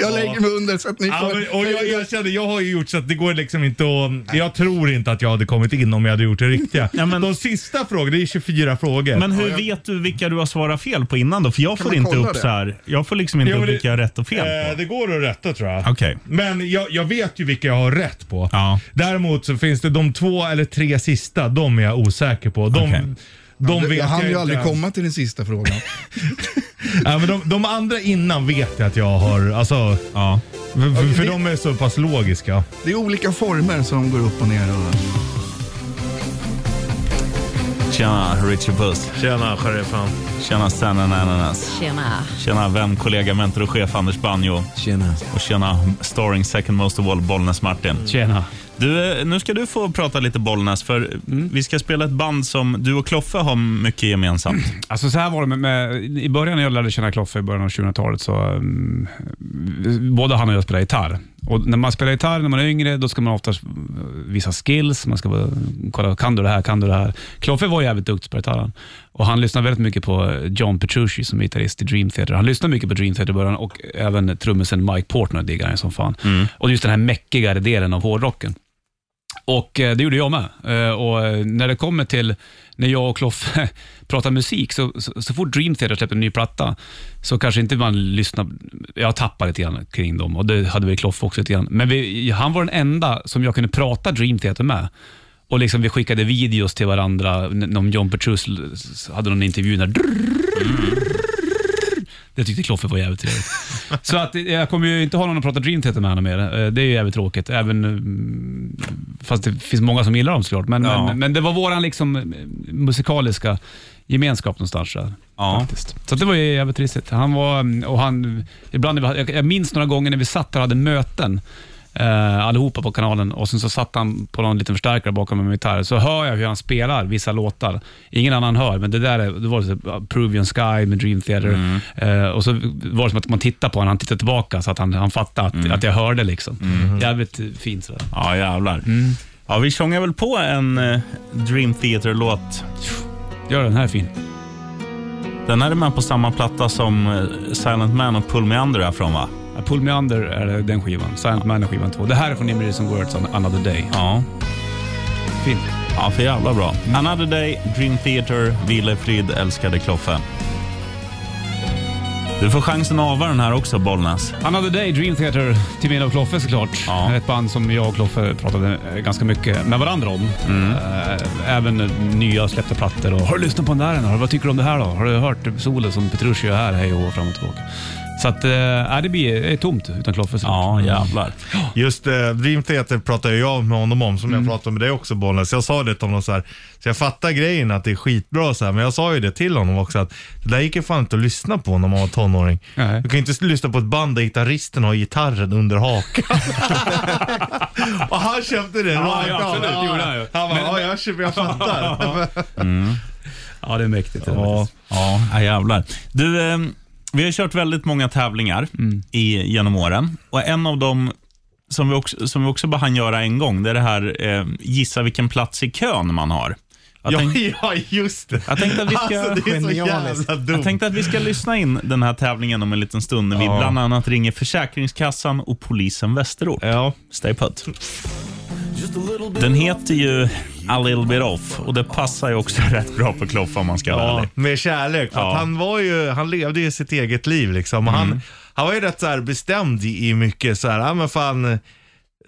Jag lägger mig under så att ni
Ja, men,
får...
och jag, jag kände, jag har ju gjort så att det går liksom inte att... Jag tror inte att jag hade kommit in om jag hade gjort det riktiga.
Ja, men-
De sista frågorna, det är 24 frågor.
Men hur vet du vilka du har svarat fel på innan då? För jag får
man
inte
kolla
upp
det?
så här. Jag får liksom inte
Jo, men
upp
det-
vilka jag har rätt och fel
Eh,
på.
det går att rätta tror jag.
Okej.
Men jag, jag vet ju vilka jag har rätt på.
Ja.
Däremot så finns det de två eller tre sista, de är jag osäker på. De,
Okej.
de vet
jag hann
jag
ju
inte
aldrig
ens.
komma till den sista frågan.
Ja, men de, de andra innan vet jag att jag har, alltså,
Ja.
för, för, för
det-
de är så pass logiska.
Det är olika former som går upp och ner. Och...
Tjena Richard Puss.
Tjena sheriffen.
Tjena Sanna Ananas.
Tjena.
Tjena vän, kollega, mentor och chef Anders Banjo.
Tjena.
Och tjena starring second most of all Bollnäs Martin.
Tjena.
Du, eh, nu ska du få prata lite Bollnäs för vi ska spela ett band som du och Kloffe har mycket gemensamt.
Alltså så här var det med, med, i början när jag lärde känna Kloffe i början av 2000-talet så um, både han och jag spelade gitarr. Och när man spelar gitarr när man är yngre, då ska man oftast eh, visa skills. Man ska vara, kolla, kan du det här, kan du det här? Kloffe var jävligt duktig på gitarren. Och han lyssnade väldigt mycket på eh, John Petrucci som är gitarrist i Dream Theater. Han lyssnade mycket på Dream Theater i början och även trummisen Mike Portnoy diggade han som fan. Och just den här mäckigare delen av hårdrocken. Och eh, det gjorde jag med. Eh, Och eh, när det kommer till när jag och Kloffe [LAUGHS] pratar musik, så, så, så fort Dream Theater släpper en ny platta, så kanske inte man lyssnar. Jag tappar lite grann kring dem och det hade väl Kloffe också lite grann. Men vi, han var den enda som jag kunde prata Dream Theater med. Och liksom Vi skickade videos till varandra. N- Om John Petrucci hade någon intervju när det tyckte Kloffe var jävligt trevligt. Så att eh, jag kommer ju inte ha någon att prata Dream Theater med honom mer. Eh, Det är ju jävligt tråkigt. Även, mm, fast det finns många som gillar dem såklart. Men,
Ja.
men, men det var våran liksom eh, musikaliska gemenskap någonstans där.
Ja.
Faktiskt. Så att det var ju jävligt trist. Han var, mm, och han, ibland, när vi hade- jag, jag minns några gånger när vi satt där och hade möten. Uh, allihopa på kanalen och sen så satt han på någon liten förstärkare bakom en gitarr. Så hör jag hur han spelar vissa låtar. Ingen annan hör, men det där är- det var så, uh, Peruvian Sky med Dream Theater.
Mm.
Eh, och så var det som att man tittar på honom, han tittar tillbaka så att han, han fattar att,
Mm.
att jag hörde. liksom. Jävligt eh, fint sådär.
Ja, jävlar. Ja, vi sjunger väl på en eh, Dream Theater-låt.
Gör den här är fin.
Den här är med på samma platta som eh, Silent Man och Pull Me Under är från va?
Uh, Pull Me Under är den skivan. Silent Man är skivan två. Det här är från Imre som Words on Another Day.
Ja.
Fint.
Ja, för jävla bra. Another Day, Dream Theater, Vila i frid, älskade Kloffe. Du får chansen att ava den här också, Bollnäs.
Another Day, Dream Theater, till min och Kloffe såklart.
Ja.
Ett band som jag och Kloffe pratade eh, ganska mycket med varandra om. Eh, Även eh, nya släppta plattor och “Har du lyssnat på den där än? Har du- Vad tycker du om det här då? Har du hört solen som Petrucci gör här?” Hej och hå, fram och tillbaka. Så att, eh, ja, det blir det är tomt utan Kloffe såklart. Mm.
Ja, jävlar.
Just eh, Dream Theater pratade jag med honom om, som jag pratade med dig också Bollnäs. Jag sa det till honom så här, så jag fattar grejen att det är skitbra så här, men jag sa ju det till honom också att det där gick ju fan inte att lyssna på när man var tonåring.
Nej.
Du kan ju inte lyssna på ett band där gitarristen har gitarren under [LAUGHS] hakan. och han köpte det
Ja,
rakt
ja,
av.
absolut, det gjorde han ju.
Han bara,
Men-
ja jag köper, jag [LAUGHS] fattar.
Ja, det är mäktigt. det är
Ja,
faktiskt.
ja ja, jävlar. Du, eh, vi har kört väldigt många tävlingar
Mm.
i, genom åren. Och En av dem som vi också, som vi också bara hann göra en gång, det är det här eh, gissa vilken plats i kön man har. Jag,
ja,
tänk,
[LAUGHS] ja, just det.
jag tänkte att vi ska...
Alltså det är så
Genialiskt.
jävla
Jag
dumt.
tänkte att vi ska lyssna in den här tävlingen om en liten stund när vi bland annat ringer Försäkringskassan och polisen Västerort.
Ja.
Stay put. Den heter ju A little bit off och det passar ju också [LAUGHS] rätt bra på Kloff om man ska vara
Ja,
ärlig.
med kärlek. För
Ja. Mm.
att han, var ju, han levde ju sitt eget liv. Liksom. Och Han, han var ju rätt så här bestämd i i mycket. Så här, ah, men fan,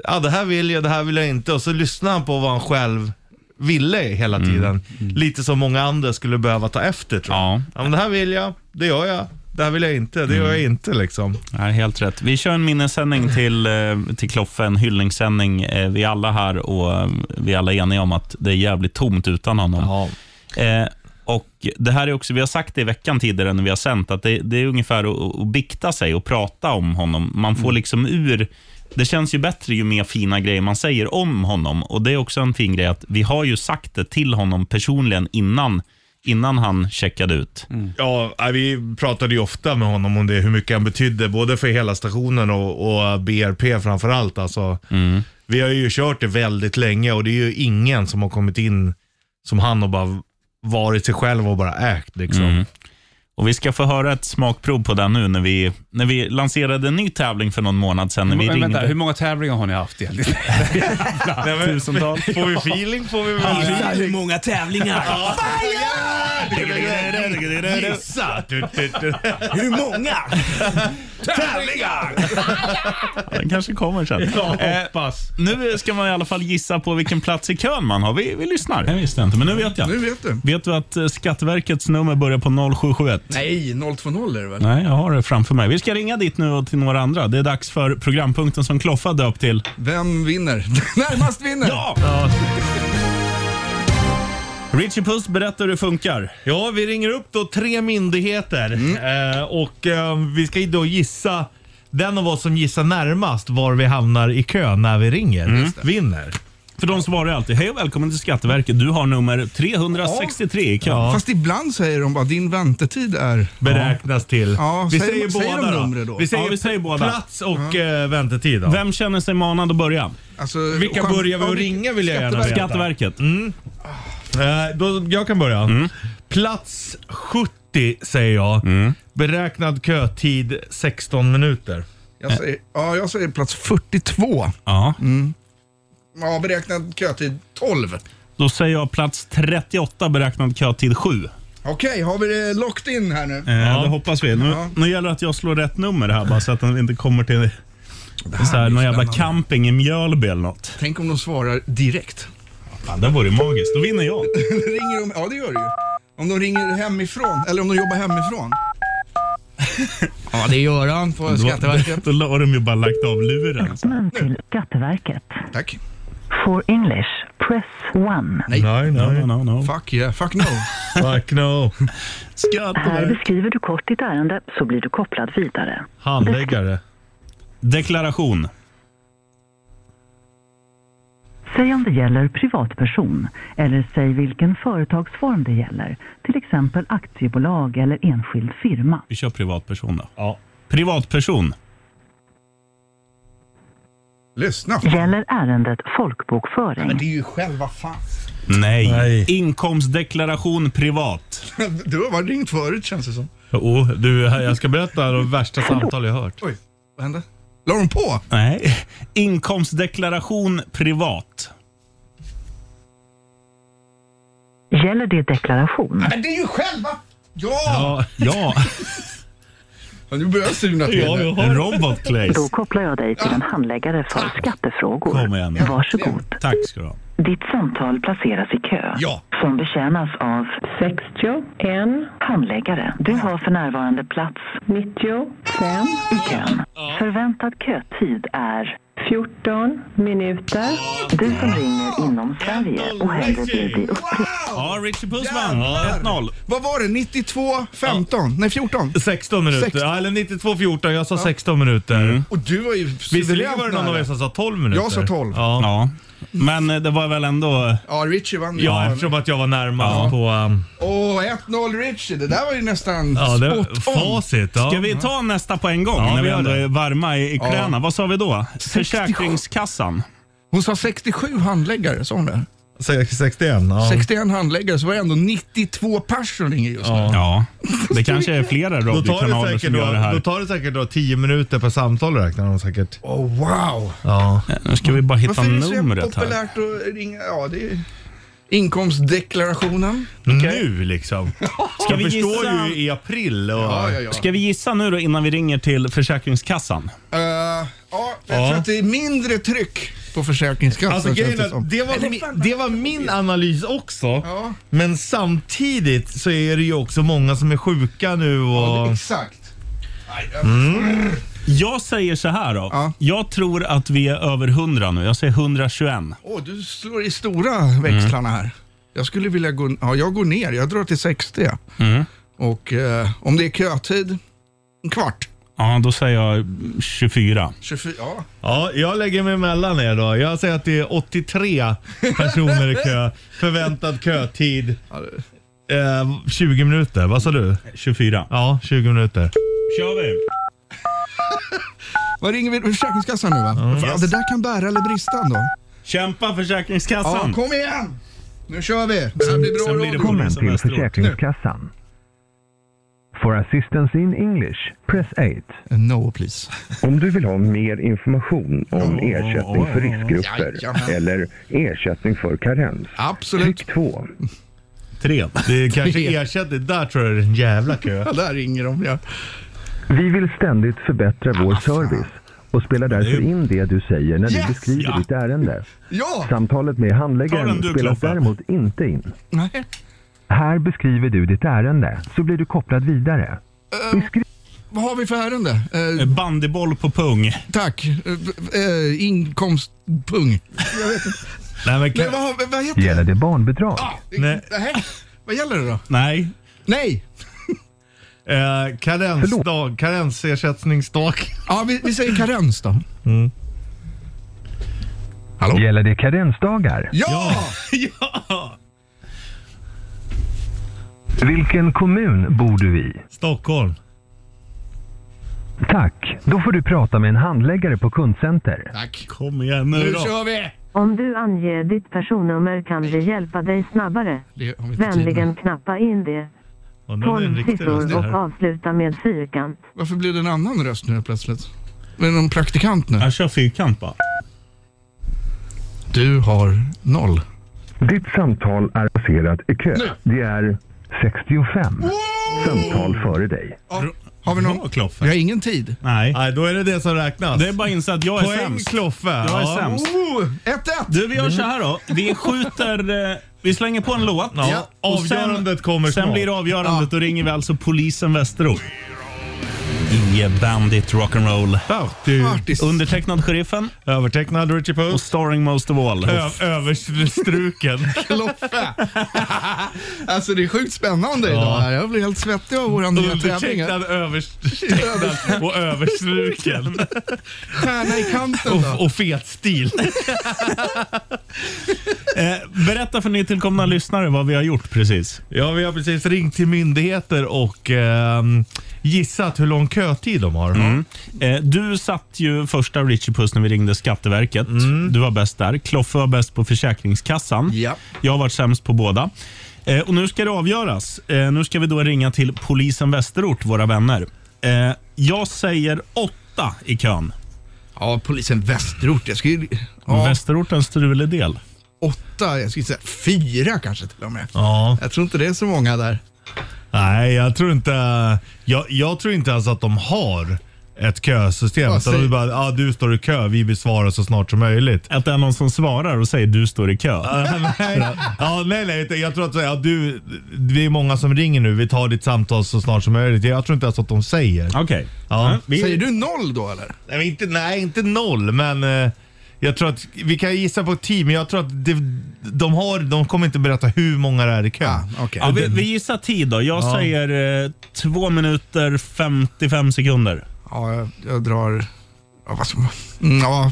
ah, det här vill jag, det här vill jag inte. Och så lyssnade han på vad han själv ville hela tiden. Lite som många andra skulle behöva ta efter. Tror jag.
Mm. Ja,
Ja, men det här vill jag, det gör jag. Det här vill jag inte, det gör
Mm.
jag inte. Liksom.
Ja, helt rätt. Vi kör en minnessändning till, eh, till Kloffe, en hyllningssändning. Eh, Vi är alla här och eh, vi är alla eniga om att det är jävligt tomt utan honom. Eh, och det här är också, vi har sagt det i veckan tidigare när vi har sänt, att det, det är ungefär att, att bikta sig och prata om honom. Man får liksom ur... Det känns ju bättre ju mer fina grejer man säger om honom. Och Det är också en fin grej att vi har ju sagt det till honom personligen innan, innan han checkade ut.
Ja, nej, vi pratade ju ofta med honom om det, hur mycket han betydde, både för hela stationen och, och BRP framförallt. Alltså, Vi har ju kört det väldigt länge och det är ju ingen som har kommit in som han och bara varit sig själv och bara ägt. Liksom.
Och Vi ska få höra ett smakprov på den nu när vi, när vi lanserade en ny tävling för någon månad sedan. När vi
Men,
ringde.
vänta, hur många tävlingar har ni haft egentligen?
Nej, men-
Tusentals.
[LAUGHS] Får vi feeling får vi väl...
Gissa hur många tävlingar?
Gissa! Du, du, du.
Hur
[LAUGHS]
många?
Tävlingar!
Den kanske kommer sen.
[LAUGHS]
Eh,
hoppas.
nu ska man i alla fall gissa på vilken plats i kön man har. Vi, vi lyssnar. Jag visste inte, men nu vet jag.
Nu vet du.
Vet du att eh, Skatteverkets nummer börjar på 0771?
Nej, 020 är det väl?
Nej, jag har det framför mig. Vi ska ringa dit nu och till några andra. Det är dags för programpunkten som Kloffa döpt till.
Vem vinner? [LAUGHS] Närmast vinner!
Ja! Richie Puss, berätta hur det funkar.
Ja, vi ringer upp då tre myndigheter eh, och eh, vi ska ju då gissa den av oss som gissar närmast var vi hamnar i kön när vi ringer vinner.
För de svarar ju alltid, hej och välkommen till Skatteverket. Du har nummer 363 i kön.
Fast ibland säger de bara din väntetid är...
Beräknas till.
Ja,
vi
säger-
säger,
säger
båda
de
då.
numret då?
Vi säger,
Ja, vi säger båda.
plats och eh, väntetid. Då.
Vem känner sig manad att börja?
Alltså,
Vilka
chans-
börjar vi
ja,
att
vilka-
ringa vill jag gärna veta.
Skatteverket. Mm.
Eh, då, jag kan börja. Plats 70 säger jag. Beräknad kötid 16 minuter.
Jag säger, ja, jag säger plats 42.
Ja.
Ja, beräknad kötid 12.
Då säger jag plats 38, beräknad kötid 7.
Okej, har vi det locked in här nu?
Eh, Det hoppas vi. Nu,
Ja.
nu gäller det att jag slår rätt nummer här bara så att den inte kommer till så här, någon jävla
spännande.
camping i Mjölby eller något.
Tänk om de svarar direkt.
Ja, det vore magiskt. Då vinner jag.
ringer de, ja, det gör det ju. Om de ringer hemifrån, eller om de jobbar hemifrån. ja, det gör han på Skatteverket.
Då har de ju bara lagt av luren.
Välkommen till Skatteverket.
[LAUGHS] Tack.
For English, press 1.
Nej,
No, no, no, no.
Fuck yeah, fuck no.
Fuck no.
Här
Skatteverket.
beskriver du kort ditt ärende så blir du kopplad vidare.
Handläggare.
Deklaration.
Säg om det gäller privatperson eller säg vilken företagsform det gäller. Till exempel aktiebolag eller enskild firma.
Vi kör privatperson då.
Ja.
Privatperson.
Lyssna.
Gäller ärendet folkbokföring?
Men det är ju själva fan. [LAUGHS]
Nej.
Nej.
Inkomstdeklaration privat.
Du har varit ringt förut känns det som.
Oh, du, jag ska berätta de värsta samtal jag hört.
Oj, vad hände? La de på?
Nej. Inkomstdeklaration privat.
Gäller det deklaration?
[LAUGHS]
Men det är ju själva! Ja!
Ja, ja.
Nu börjar jag surna till.
Ja, jag har- En robot, Claes.
Då kopplar jag dig till en handläggare för skattefrågor.
Kom igen nu.
Varsågod.
Tack ska du ha.
Ditt samtal placeras i kö
Ja.
som betjänas av 61 handläggare. Du har för närvarande plats 95 i kön. Förväntad kötid är 14 minuter. Du som ringer inom Sverige och hellre vill bli uppringd.
Ja, Richie Puss vann. 1-0.
Vad var det? 92, 15? Nej, 14?
16 minuter.
Sex-
Ja, eller 92-14. Jag sa 16 minuter.
Och du var ju
Visserligen
suveränt
var det någon
nära.
av er som sa 12 minuter.
Jag sa 12.
Ja,
Ja. Men eh, det var väl ändå...
Ja, Richie vann. ju.
ja eftersom att jag var närmast på... Um,
Åh, 1-0 Richie. Det där var ju nästan
ja, det,
spot on.
facit. Ja.
Ska vi ta nästa på en gång
Ja,
när
vi
vi
gör
ändå
det.
är varma i, i
Ja.
kläderna? Vad sa vi då? Försäkringskassan.
Hon sa 67 handläggare, sa hon det?
Se- 61? Ja.
61 handläggare, så var det ändå 92 pers som ringer just nu.
Ja.
Ja, det kanske är flera
Då tar,
radiokanaler
det säkert
som gör det
då, då
här.
tar det säkert då 10 minuter per samtal räknar de säkert.
Oh, wow!
Ja.
Nu ska vi bara hitta
Varför är det så
numret här.
populärt att ringa? Ja, det är inkomstdeklarationen.
Nu liksom.
Ska
Jag
vi,
förstår
gissa,
ju i april. Och,
Ja, ja, ja.
ska vi gissa nu då innan vi ringer till Försäkringskassan?
Eh, ja, jag
Ja.
tror att det är mindre tryck på Försäkringskassan.
Alltså,
känns
grejen
det
är,
som.
att det, var, min- det var min analys också.
Ja.
Men samtidigt så är det ju också många som är sjuka nu och...
Ja, det- Exakt.
Jag säger så här då.
Ja.
Jag tror att vi är över 100 nu. Jag säger 121.
Åh, du slår i stora växlarna här. Jag skulle vilja gå, ja, jag går ner. Jag drar till 60. Och eh, om det är kötid, en kvart.
Ja, då säger jag 24.
24, ja.
Ja, jag lägger mig mellan er då. Jag säger att det är 83 personer i kö. Förväntad kötid. Eh, 20 minuter. Vad sa du?
24.
Ja, 20 minuter.
Kör vi!
Vad ringer vi? Försäkringskassan nu va? Fan, Det där kan bära eller brista ändå.
Kämpa
Ja,
Försäkringskassan!
kom igen! Nu kör vi. Det här blir bra
Sen blir
radio.
det problem.
Välkommen till
Semesteråt.
Försäkringskassan. For assistance in English, press 8.
No please.
Om du vill ha mer information om ersättning för riskgrupper
Jajamän.
eller ersättning för karens,
Absolut.
tryck 2.
Tre.
Det är kanske ersätter. Där tror jag det är en jävla kö.
Ja, där ringer de. Ja.
Vi vill ständigt förbättra vår service och spelar därför in det du säger när
Yes!
du beskriver
Ja.
ditt ärende.
ja.
Samtalet med
Ta den
handläggaren
du,
spelas
Kloffe.
däremot inte in.
Nej.
Här beskriver du ditt ärende, så blir du kopplad vidare.
Vad har vi för ärende? Eh,
Ehm. Bandyboll på pung.
tack. Eh, b- eh, inkomstpung.
Nej, men
Nej,
kö...
vad, har- vad heter Ah,
Gäller det barnbidrag?
det?
Nej.
Nej. Vad gäller det då?
Nej.
Nej.
eh, karensdag. Karensersättningsdag.
Ja, vi, vi säger karens då.
Gäller det karensdagar?
Ja!
Vilken kommun bor du i?
Stockholm.
Tack, då får du prata med en handläggare på kundcenter.
Tack.
Kom igen nu
Nu
då.
kör vi.
Om du anger Eh, ditt personnummer kan vi hjälpa dig snabbare.
Det har vi inte tid med.
Vänligen knappa in det.
Undrar om det är en
Tolv
riktig röst
siffror
det
och
här.
avsluta med fyrkant.
Varför blir det en annan röst nu helt plötsligt? Är det någon praktikant nu?
Jag kör fyrkant bara.
Du har noll.
Ditt samtal är placerat i kö. Det är 65 samtal före dig.
Har vi
Bra,
någon?
Kloffe.
Vi har ingen tid.
Nej.
Nej, då är det det som räknas.
Det är bara att inse att jag är
Poäng
sämst.
Kloffe.
Jag är
Ja.
sämst.
Oh, 1-1.
Du, vi gör så här då. Vi skjuter... eh, Vi slänger på en låt.
Ja.
Och sen-
Avgörandet kommer
Sen
snart.
blir det avgörandet. Då ringer vi alltså polisen Västerås. I Bandit Rock'n'Roll.
Artis.
Undertecknad Sheriffen
Övertecknad Richie
och
Puss.
starring most of all.
Ö- [LAUGHS] överstruken.
Kloffe. [LAUGHS] alltså det är sjukt spännande idag. här. Jag blir helt svettig av våra nya
[LAUGHS]
tävlingar.
Undertecknad, övertecknad och [LAUGHS] överstruken.
Stjärna i kanten
Och,
då.
och fet stil.
Eh, Berätta för nytillkomna lyssnare vad vi har gjort precis.
Ja, vi har precis ringt till myndigheter och ehm, gissat hur lång kötid de har.
Mm.
Eh, du satt ju första Richie Puss när vi ringde Skatteverket. Du var bäst där. Kloffe var bäst på Försäkringskassan.
Ja.
Jag har varit sämst på båda. Eh, och Nu ska det avgöras. Eh, nu ska vi då ringa till polisen Västerort, våra vänner. Eh, jag säger åtta i kön.
Ja, polisen Västerort. Jag skulle... Ja,
Västerort är en strulig del.
åtta, jag skulle säga fyra kanske till och med.
Ja.
Jag tror inte det är så många där.
Nej, jag tror inte, jag, jag tror inte ens att de har ett kösystem.
Vad
Utan de
säger-
bara, ah, du står i kö, vi besvarar så snart som möjligt.
Att det är någon som svarar och säger du står i kö.
nej. [LAUGHS] Ja, nej, nej. utan Jag tror att så här, ja, du, det är många som ringer nu. Vi tar ditt samtal så snart som möjligt. Jag tror inte ens att de säger.
Okej.
Ja.
Säger du noll då eller?
Nej, men inte, nej, inte noll, men eh, jag tror att vi kan gissa på tio, men jag tror att det, de, har, de kommer inte berätta hur många det är i kön.
Ah,
Ja, vi, vi gissar tid då. Jag
Ja.
säger eh, 2 minuter 55 sekunder.
Ja, jag, jag drar... Ja, vad som, mm, ja,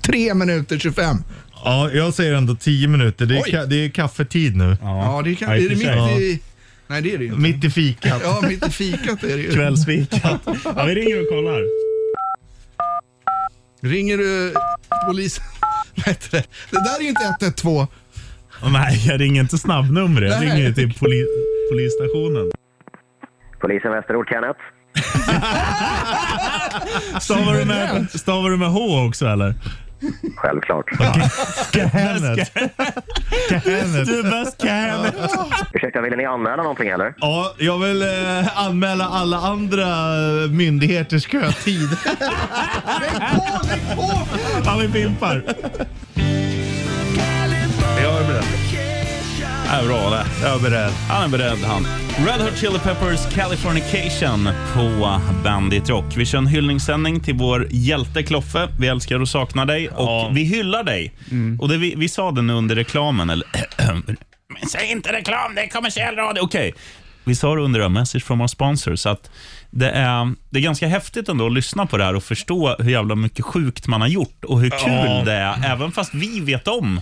tre minuter 25.
Ja, jag säger ändå 10 minuter. Det är,
Oj.
ka, det är kaffetid nu.
Ja, det kan, är det mitt i... Nej, det är det ju inte.
Mitt i fikat.
Ja, mitt i fikat är det ju.
Kvällsfikat.
[LAUGHS]
Ja, vi ringer och kollar.
Ringer du polisen? [LAUGHS] Vad heter det? Det där är ju inte 112.
Åh, [LAUGHS] nej, jag ringer inte snabbnumret. Jag
Nej.
ringer till poli, polisstationen.
Polisen Västerort, Kenneth.
[LAUGHS] Stavar du, med, stavar du med H också eller?
Självklart.
Kahenet. Kahenet.
Du är bäst Kenneth.
Ursäkta, ville ni anmäla någonting eller?
Ja, jag vill eh, anmäla alla andra eh, myndigheters kötid.
Ja, vi fimpar.
Jag är beredd.
Ja, Äh, bra det.
Jag är beredd.
Han är beredd han. Red Hot Chili Peppers Californication på Bandit Rock. Vi kör en hyllningssändning till vår hjälte Kloffe. Vi älskar och saknar dig och vi hyllar dig. Och det, vi, vi sa det nu under reklamen. Eller, [CLEARS THROAT] men säg inte reklam, det är kommersiell radio. Okej. Vi sa det under A message from our sponsor, så att det är, det är ganska häftigt ändå att lyssna på det här och förstå hur jävla mycket sjukt man har gjort och hur kul
Ja.
det är, även fast vi vet om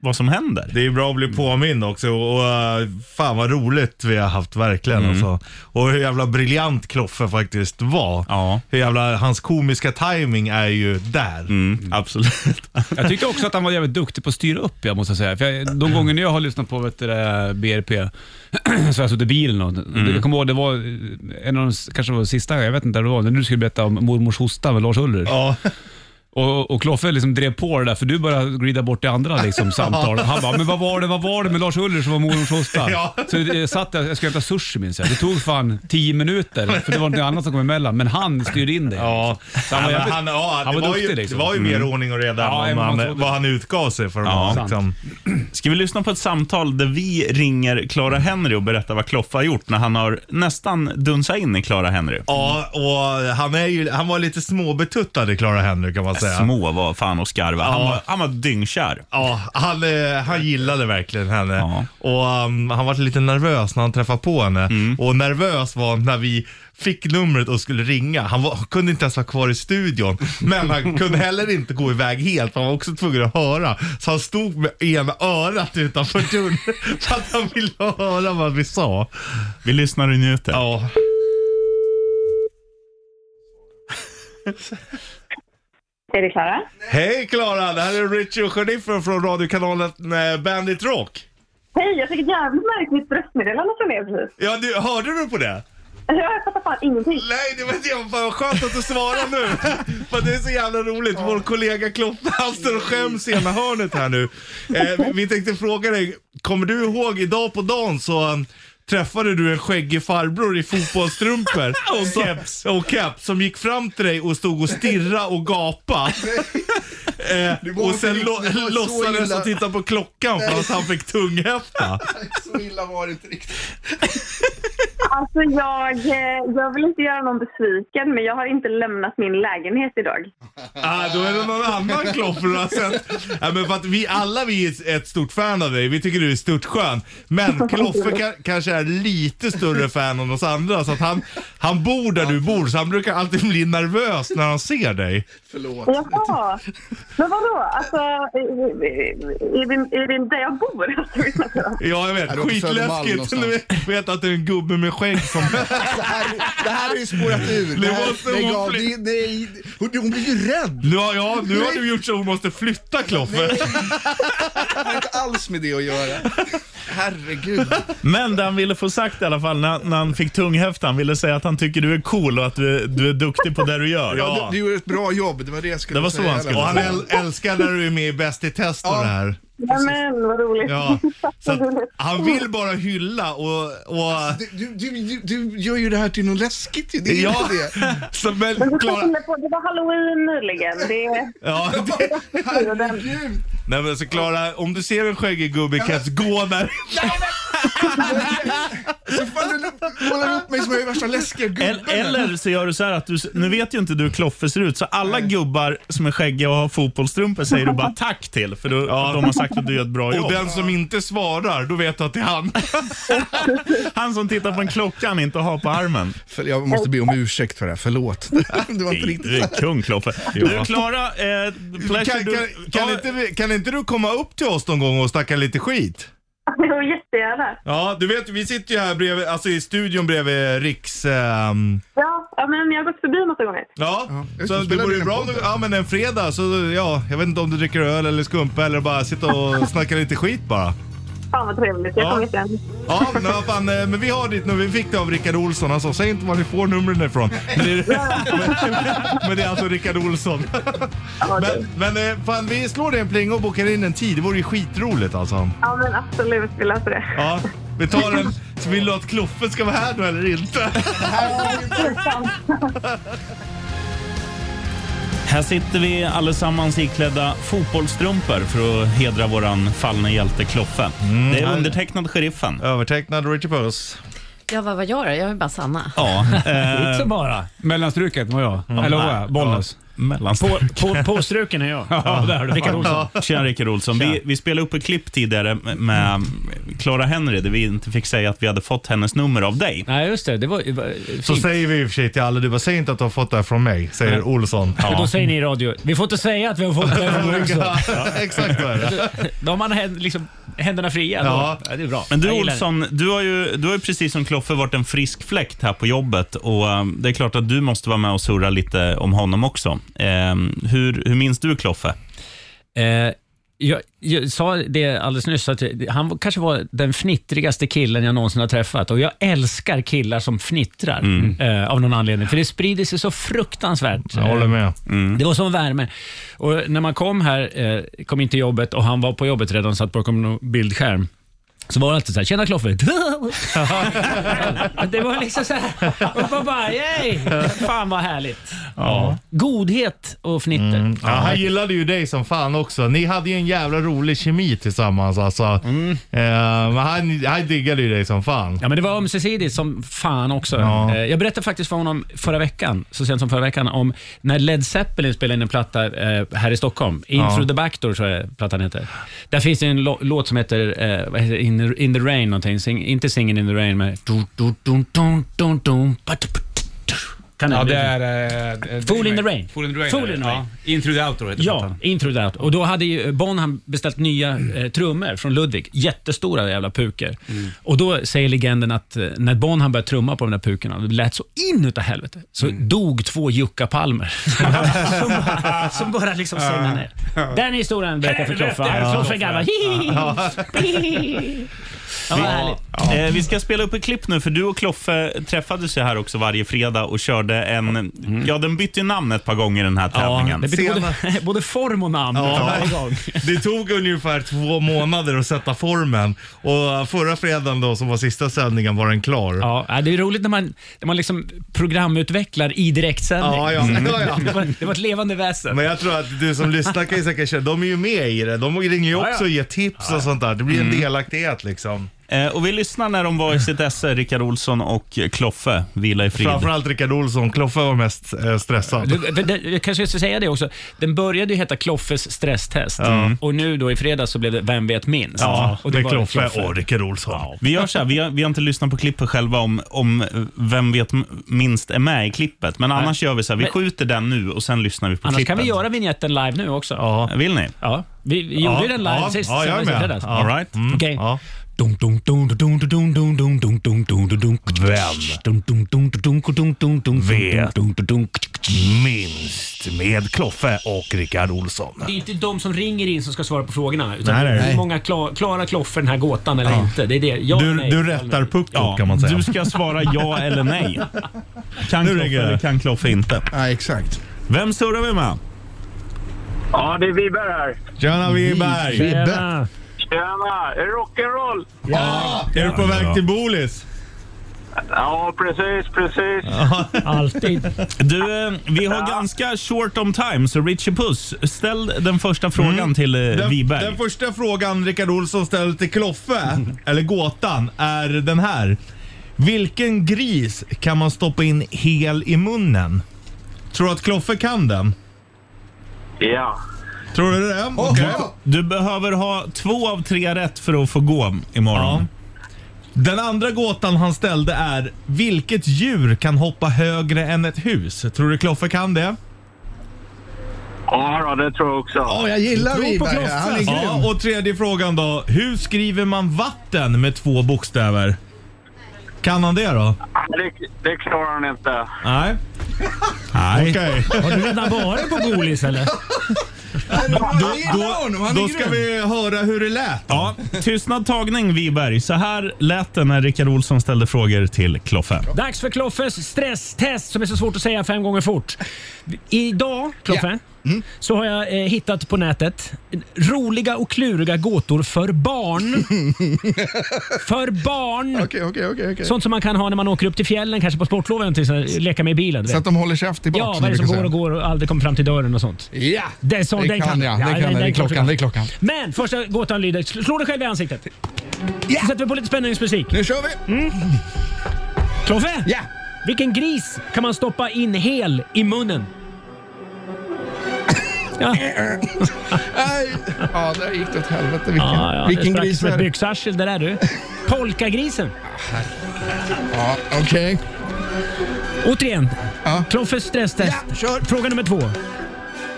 vad som händer.
Det är bra att bli påmind också och eh, fan vad roligt vi har haft verkligen
Mm.
alltså. Och hur jävla briljant Kloffe faktiskt var.
Ja,
Hur jävla, hans komiska timing är ju där.
mm, absolut.
Jag tyckte också att han var jävligt duktig på att styra upp, jag måste säga. För jag, de gånger när jag har lyssnat på vet du, det, BRP, [CLEARS THROAT] så har jag suttit i bilen och
Mm.
jag kommer ihåg, det var eh, en av de, s- kanske var det sista, jag vet inte vad det var, när du skulle berätta om mormors hosta med Lars Ulrich.
Ja.
Och, och Kloffe liksom drev på det där, för du började glida bort i
[LAUGHS]
andra liksom, samtal. Han bara, men vad var det, vad var det med Lars Ulrich som var mormors
[LAUGHS]
hosta?
Ja.
Så jag satt där, jag skulle hämta sushi minns jag. Det tog fan 10 minuter, för det var något annat som kom emellan, men han styrde in dig.
Ja,
Så han var
men
jävligt-
han, ja,
han
det,
var
var ju,
duktig, liksom.
det var ju mer ordning och reda
Ja,
än
men
vad
man
han,
såg-
vad han utgav sig för.
Ja.
Ja, liksom.
[LAUGHS] Ska vi lyssna på ett samtal där vi ringer Clara Henry och berättar vad Kloffe har gjort när han har nästan dunsat in i Clara Henry?
ja och han, är ju, han var lite småbetuttad i Clara Henry kan man
Alltså,
säga.
Små var fan och skarva. Han,
Ja.
var, han var dyngkär.
Ja, han, eh, han gillade verkligen henne.
Ja.
Och um, Han var lite nervös när han träffade på henne. Och nervös var han när vi fick numret och skulle ringa. Han, var, han kunde inte ens vara kvar i studion. Men han kunde heller inte gå iväg helt. för Han var också tvungen att höra. Så han stod med ena örat utanför dörren. [LAUGHS] för att han ville höra vad vi sa.
Vi lyssnar och njuter.
Ja.
Är det Klara?
Hej Klara, det här är Richie och Jennifer från radiokanalen eh, Bandit Rock.
Hej, jag fick ett jävligt märkligt bröstmeddelande från er precis.
Ja, du, hörde du på det?
Jag fattar fan ingenting.
Nej, det var inte jag. Fan vad skönt att du svarar nu.
[LAUGHS]
För det är så jävla roligt. Vår kollega Kloppe, han står och skäms i ena hörnet här nu. Eh, vi- vi tänkte fråga dig, kommer du ihåg idag på dagen så um, träffade du en skäggig farbror
[LAUGHS]
i fotbollsstrumpor och keps. Och keps som gick fram till dig och stod och stirra
[LAUGHS]
och gapa. Eh,
var
och sen
inte
lo-
riktigt- det var så
låtsades
illa.
och tittade på klockan för att han
[LAUGHS]
fick tunghäfta.
[LAUGHS] Så illa var det inte riktigt.
Alltså jag, eh, jag vill inte göra någon besviken men jag har inte lämnat min lägenhet idag.
Ah, då är det
[LAUGHS]
någon annan kloffer du har sett. Ja, men för att vi alla vi är ett stort fan av dig. Vi tycker du är stort skön. Men Kloffe ka- kanske är lite större fan än oss andra. Så att han, han bor där du bor, så han brukar alltid bli nervös när han ser dig.
Förlåt. [LAUGHS]
Jaha. Men vadå? Alltså, eh, eh, är det, är det där jag bor? [LAUGHS] Alltså, vi snackar om.
Ja, jag vet.
Här uppe på Södermalm
Skitläskigt.
någonstans.
Du vet- vet att det är en gubbe med skägg
[LAUGHS]
som...
Det här, det här är ju spårat ur.
Det
Det här,
måste
lägg
hon
av.
fly-
Det, nej, hon, hon blir ju rädd.
Nu har, ja, nu har du gjort så hon måste flytta Kloffe.
Det har inte alls med det att göra. Herregud.
[LAUGHS] Men det han ville få sagt i alla fall när, när han fick tunghäfta, han ville säga att han tycker du är cool och att du, är- du är duktig på det du gör.
Ja. Du, du gör ett bra jobb, det var det jag skulle
Det var så
säga.
han skulle
Och han
säga.
äl- älskar när du är med i Bäst i test och
Ja.
det här.
Ja, men vad roligt.
Ja, så att han vill bara hylla och... och...
Du, du, du, du gör ju det här till något läskigt ju. Det är
Ja,
inte det.
så, men
Men du
Klara-
Klara... på, det var halloween nyligen. [LAUGHS] Det,
Ja,
Herregud.
Nej men så Klara, om du ser en skäggig gubbe kan jag gå där.
Så fan du målar upp mig som jag är värsta läskiga gubben.
Eller, eller så gör du så här att du, nu vet ju inte du hur Kloffe ser ut, så alla gubbar som är skäggiga och har fotbollstrumpor säger du
[LAUGHS]
bara tack till, för du, de har sagt att du gör ett bra
Och
jobb.
den som inte svarar, då vet du att det är han.
Han som tittar på en klocka han inte har på
[LAUGHS]
armen.
För- Jag måste be om ursäkt för det här, förlåt. [LAUGHS] Det var inte riktigt
Du är kung Kloffe. Du Klara, eh, pleasure,
Kan,
du,
kan,
ta,
kan, inte, vi- kan inte du komma upp till oss någon gång och snacka lite skit?
jo, jättegärna.
Ja, du vet vi sitter ju här bredvid, alltså i studion bredvid Riks... ehm,
Ja, ja, men jag har gått förbi några gånger.
ja,
just det,
så det
spelar
vore
in en
bra om
podd
du,
här.
ja men en fredag så ja, jag vet inte om du dricker öl eller skumpa eller bara sitta och snacka lite skit bara.
Fan vad trevligt. Jag
Ja.
kommer jättegärna.
Ja, men, vad fan, eh, men vi har ditt nummer, vi fick det av Rickard Olsson. Han sa säg inte var ni får numren ifrån. Men, det- [LAUGHS] men, men det är alltså Rickard Olsson.
Ja, det-
Men, men eh, fan, vi slår dig en pling och bokar in en tid. Det vore ju skitroligt alltså.
Ja, men absolut. Vi löser det.
Ja, vi tar en... Så vill du att Kloffe ska vara här då eller inte?
här sitter vi allesammans iklädda fotbollstrumpor för att hedra våran fallna hjälte Kloffe. det är undertecknad sheriffen.
Övertecknad Richard Puss.
Ja, vad, vad gör jag? Jag vill bara Sanna.
Ja, eh,
Inte bara. Mellanstruket var jag. Eller var jag? Bollnäs.
mellansteg.
Mm. På, påstruken är jag.
[LAUGHS] Ja, där har du
Rickard Olsson.
Tjena Rickard Olsson. Vi, vi spelade upp ett klipp tidigare med
Mm.
mm, Clara Henry där vi inte fick säga att vi hade fått hennes nummer av dig.
Nej, just det. Det var, det var
Så
fint.
säger vi i och för sig till alla, du bara säg inte att du har fått det här från mig, säger Olsson.
Och Då säger ni i radio, vi får inte säga att vi har fått det här från Olsson.
Ja, [LAUGHS] Exakt vad är det.
Då har man händ, liksom, händerna fria. då.
Ja.
Ja, det är bra.
Men du
Jag gillar
Olsson, du har, ju, du har ju precis som Kloffe varit en frisk fläkt här på jobbet och eh, det är klart att du måste vara med och surra lite om honom också. Eh, hur, hur minns du Kloffe?
det. Eh, jag, jag sa det alldeles nyss, att han kanske var den fnittrigaste killen jag någonsin har träffat. Och jag älskar killar som fnittrar
Mm.
eh, av någon anledning. För det sprider sig så fruktansvärt.
Jag håller med.
Det var som värme. Och när man kom här, eh, kom in till jobbet och han var på jobbet redan, satt bakom en bildskärm. Så var det alltid så här, tjena Kloffe. [LAUGHS] det var liksom så här, [LAUGHS] och man bara, yay! Fan vad härligt. Godhet och fnitter.
Ja, han gillade ju dig som fan också. Ni hade ju en jävla rolig kemi tillsammans alltså. Eh, men han, han diggade ju dig som fan.
Mm. Ja, men det var ömsesidigt som fan också.
Ja.
Eh, Jag berättade faktiskt för honom förra veckan, så sent som förra veckan, om när Led Zeppelin spelade in en platta eh, här i Stockholm. In through the back door tror jag plattan heter. Där finns det en lo- låt som heter, eh, vad heter det? in, in the rain någonting. Sing, inte Singin' in the rain, men... Kan
Ja,
den
det
bli-
är... eh,
Fool in the rain.
Fool in the rain.
Fool in the rain.
Ja. In through the outdoor heter
Ja,
plattan.
intro that. Och då hade ju Bon han beställt nya eh, trummor från Ludvig. Jättestora jävla puker. Och då säger legenden att eh, när Bon han började trumma på de där pukorna, det lät så in utav helvete, så dog två [LAUGHS] juckapalmer. som, bara- som bara liksom sängnade ner. Den historien berättar jag för Kloffe. Han slog sig gammal. Ja, vad härligt.
Eh, vi ska spela upp ett klipp nu, för du och Kloffe träffades ju här också varje fredag och körde en... Ja, den bytte ju namn ett par gånger den här
Mm. Ja,
tävlingen.
det blir både, både form och namn varje gång.
[LAUGHS] Det tog ungefär två månader att sätta formen och förra fredagen då som var sista sändningen var den klar.
Ja, det är roligt när man, när man liksom programutvecklar i direktsändning.
Ja, ja. Ja, [LAUGHS] ja.
Det, var, det var ett levande väsen.
Men jag tror att du som lyssnar kan ju säkert känna, de är ju med i det. De ringer ju
Ja, Mm. ja.
också och ger tips och sånt där. Det blir en delaktighet liksom.
Eh, och vi lyssnar när de var i sitt esse, Rickard Olsson och Kloffe, Vila i frid.
Framförallt Rickard Olsson, Kloffe var mest eh, stressad.
Det- det- Jag kanske ska säga det också. Den började ju heta Kloffes stresstest och nu då i fredags så blev det Vem vet minst?
Mm. Ja,
och
det är
var det
Kloffe och Rickard Olsson.
Vi gör så här, vi har, vi har inte lyssnat på klippet själva om, om eh, vem vet m- minst är med i klippet. Men annars gör vi så här, vi
Men-
skjuter den nu och sen lyssnar vi på
Annars
klippet.
kan vi göra vignetten live nu också.
Ja.
Vill ni?
Ja, vi, vi gjorde ju den live
ja,
sist.
ja, jag är
senast i
med.
fredags.
Ja.
All right.
Mm.
Okej.
Ja.
Dunk, dunk, dunk, dunk, dunk, dunk, dunk, dunk, dunk, dunk, dunk. Dunk, dunk, dunk, dunk, dunk, dunk, dunk,
Vet.
dunk, dunk, dunk.
Minst med Kloffe och Rickard Olsson.
Det är inte de som ringer in som ska svara på frågorna. Utan
Nej, nej, nej.
hur många kla- klarar Kloffe den här gåtan eller inte? Det är det. Ja,
Du,
nej.
du rättar puckot kan man säga.
Du ska svara ja eller
[LAUGHS]
nej. Kan
Nu
Kloffe
ringer det.
eller kan Kloffe inte?
Nej, exakt.
Vem surrar vi med?
Ja, det är Wiberg här.
Tjena Wiberg!
Ah.
Tjena! Tjena! Är det rock'n'roll?
Ja! Är du på väg till Bolis?
Ja, precis, precis.
Alltid. Du, eh, vi har ganska short on time, så Richie Puss, ställ den första frågan till eh,
Mm. Den,
Wiberg.
den första frågan Rickard Olsson ställer till Kloffe,
[LAUGHS]
eller gåtan, är den här. Vilken gris kan man stoppa in hel i munnen? Tror du att Kloffe kan den?
Ja.
Tror du det? Okej.
Du behöver ha två av tre rätt för att få gå imorgon.
Den andra gåtan han ställde är vilket djur kan hoppa högre än ett hus? Tror du Kloffe kan det?
Ja, då, det tror jag också.
Ja,
jag gillar Wiberg. Han
alltså.
är grym.
ja, Och tredje frågan då. Hur skriver man vatten med två bokstäver? Kan han det då?
Det, det klarar han inte.
Nej. Nej. Okej.
Har du redan varit på Bolis, eller?
Då,
honom,
då,
han är
då ska
grym.
vi höra hur det lät.
Ja, tystnad tagning Wiberg. Så här lät det när Rickard Olsson ställde frågor till Kloffe.
Dags för Kloffes stresstest som är så svårt att säga fem gånger fort. Idag, Kloffe,
Mm.
så har jag eh, hittat på nätet roliga och kluriga gåtor
[LAUGHS]
för barn. för barn!
Okej, okej, okej. okej.
Sånt som man kan ha när man åker upp till fjällen, kanske på sportloven, till, så här, leka med i bilen. du
Så
vet.
att de håller käft i bak,
Ja,
som
vad är det
vi
som
brukar
går och går och aldrig kommer fram till dörren och sånt.
Ja,
det, är så,
det
den
kan jag. Det kan jag.
den-
Det är
den
klockan,
jag.
det är klockan.
Men första gåtan lyder, sl- slå dig själv i ansiktet. Så sätter vi på lite spänningsmusik.
Nu kör vi!
Mm. Kloffe!
Ja!
Vilken gris kan man stoppa in hel i munnen? Ja.
Nej. Ja, där gick det åt helvete. Vilken,
Ja, ja,
vilken
det sprack
gris
som
är
ett
det?
byxarsel det där du. Polkagrisen.
Ja, okej.
Återigen, Kloffes stresstest. Fråga nummer två.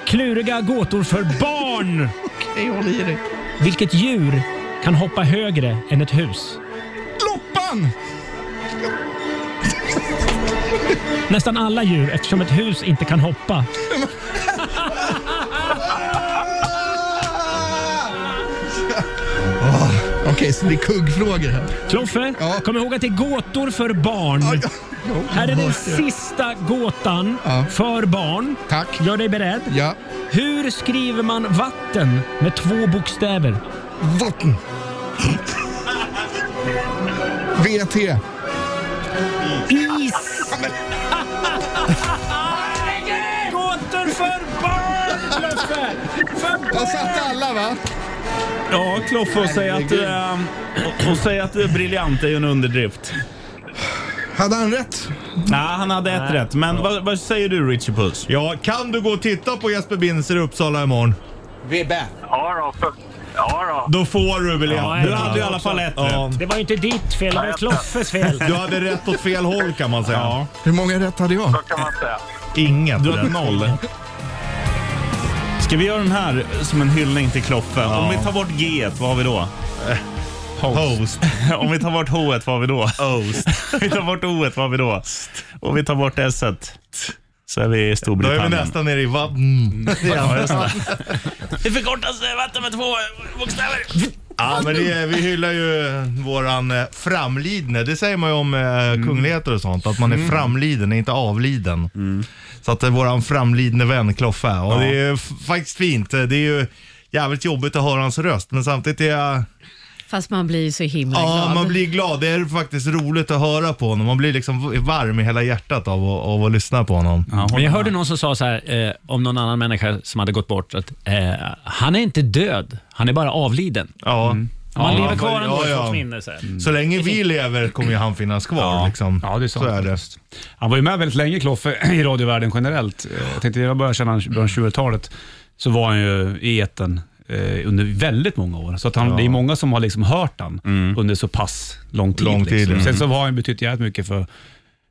Kluriga gåtor för barn.
Okej, håll i dig.
Vilket djur kan hoppa högre än ett hus?
Loppan!
Nästan alla djur eftersom ett hus inte kan hoppa.
Åh, Okej, så det är kuggfrågor här.
Kloffe, kom ihåg att det är gåtor för barn. Här är den sista gåtan för barn.
Tack.
Gör dig beredd.
Ja.
Hur skriver man vatten med två bokstäver?
Vatten. VT.
Is. Gåtor för barn, Kloffe! För
Jag satte alla, va?
Ja, Kloffe, och säga att,
Herregud.
eh, och- och säga att det är briljant är ju en underdrift.
Hade han rätt?
Nej, han hade ett rätt. Men vad, vad säger du, Richie Puss?
Ja, kan du gå och titta på Jesper Binzer i Uppsala imorgon?
Vibbe.
Ja, då. För, ja, då.
Då får du väl
Ja, du hade i alla fall ett
Ja.
rätt.
Det var ju inte ditt fel, det var ju
[LAUGHS]
Kloffes fel.
Du hade rätt åt fel håll kan man säga. Ja.
Hur många rätt hade jag?
kan man säga.
Inget
Du hade
rätt.
noll. Ska vi göra den här som en hyllning till Kloffe? Om
Ja. Eh,
vi tar bort G, vad har vi då?
Host. [LAUGHS]
Om vi tar bort H, vad har vi då? Host. [LAUGHS] vi tar bort O, vad har vi då? Och vi tar bort S, så är vi i
Då är vi
Storbritannien.
nästan nere i vad? [LAUGHS] Mm.
Ja, just det. det förkortas eh, vatten med två bokstäver.
Ja, men det, är- vi hyllar ju våran eh, framlidne. Det säger man ju om eh,
Mm.
kungligheter och sånt, att man är framliden, inte avliden.
Mm.
Så att det är våran framlidne vän Kloffe. Och det är ju f- faktiskt fint. Det är ju jävligt jobbigt att höra hans röst, men samtidigt är jag...
Fast man blir ju så himla
Ja,
glad.
man blir glad. Det är faktiskt roligt att höra på honom. Man blir liksom varm i hela hjärtat av att, av att lyssna på honom.
Men jag hörde någon som sa så här eh, om någon annan människa som hade gått bort att eh, han är inte död, han är bara avliden.
Ja.
Mm.
Man
Ja,
lever kvar
ja,
ändå i
ja.
folks minne. Så här.
Så länge vi lever kommer ju han finnas kvar. Liksom.
Ja, det är sant.
Så är det.
Han var ju med väldigt länge, Kloffe, [CLEARS THROAT] i radiovärlden generellt. Eh, Jag tänkte, jag började känna honom i början av 20-talet, så var han ju i etern eh, under väldigt många år. Så att han, det är många som har liksom hört han under så pass lång tid.
Mm. Lång tid,
liksom.
mm.
Sen så har han betytt jävligt mycket för,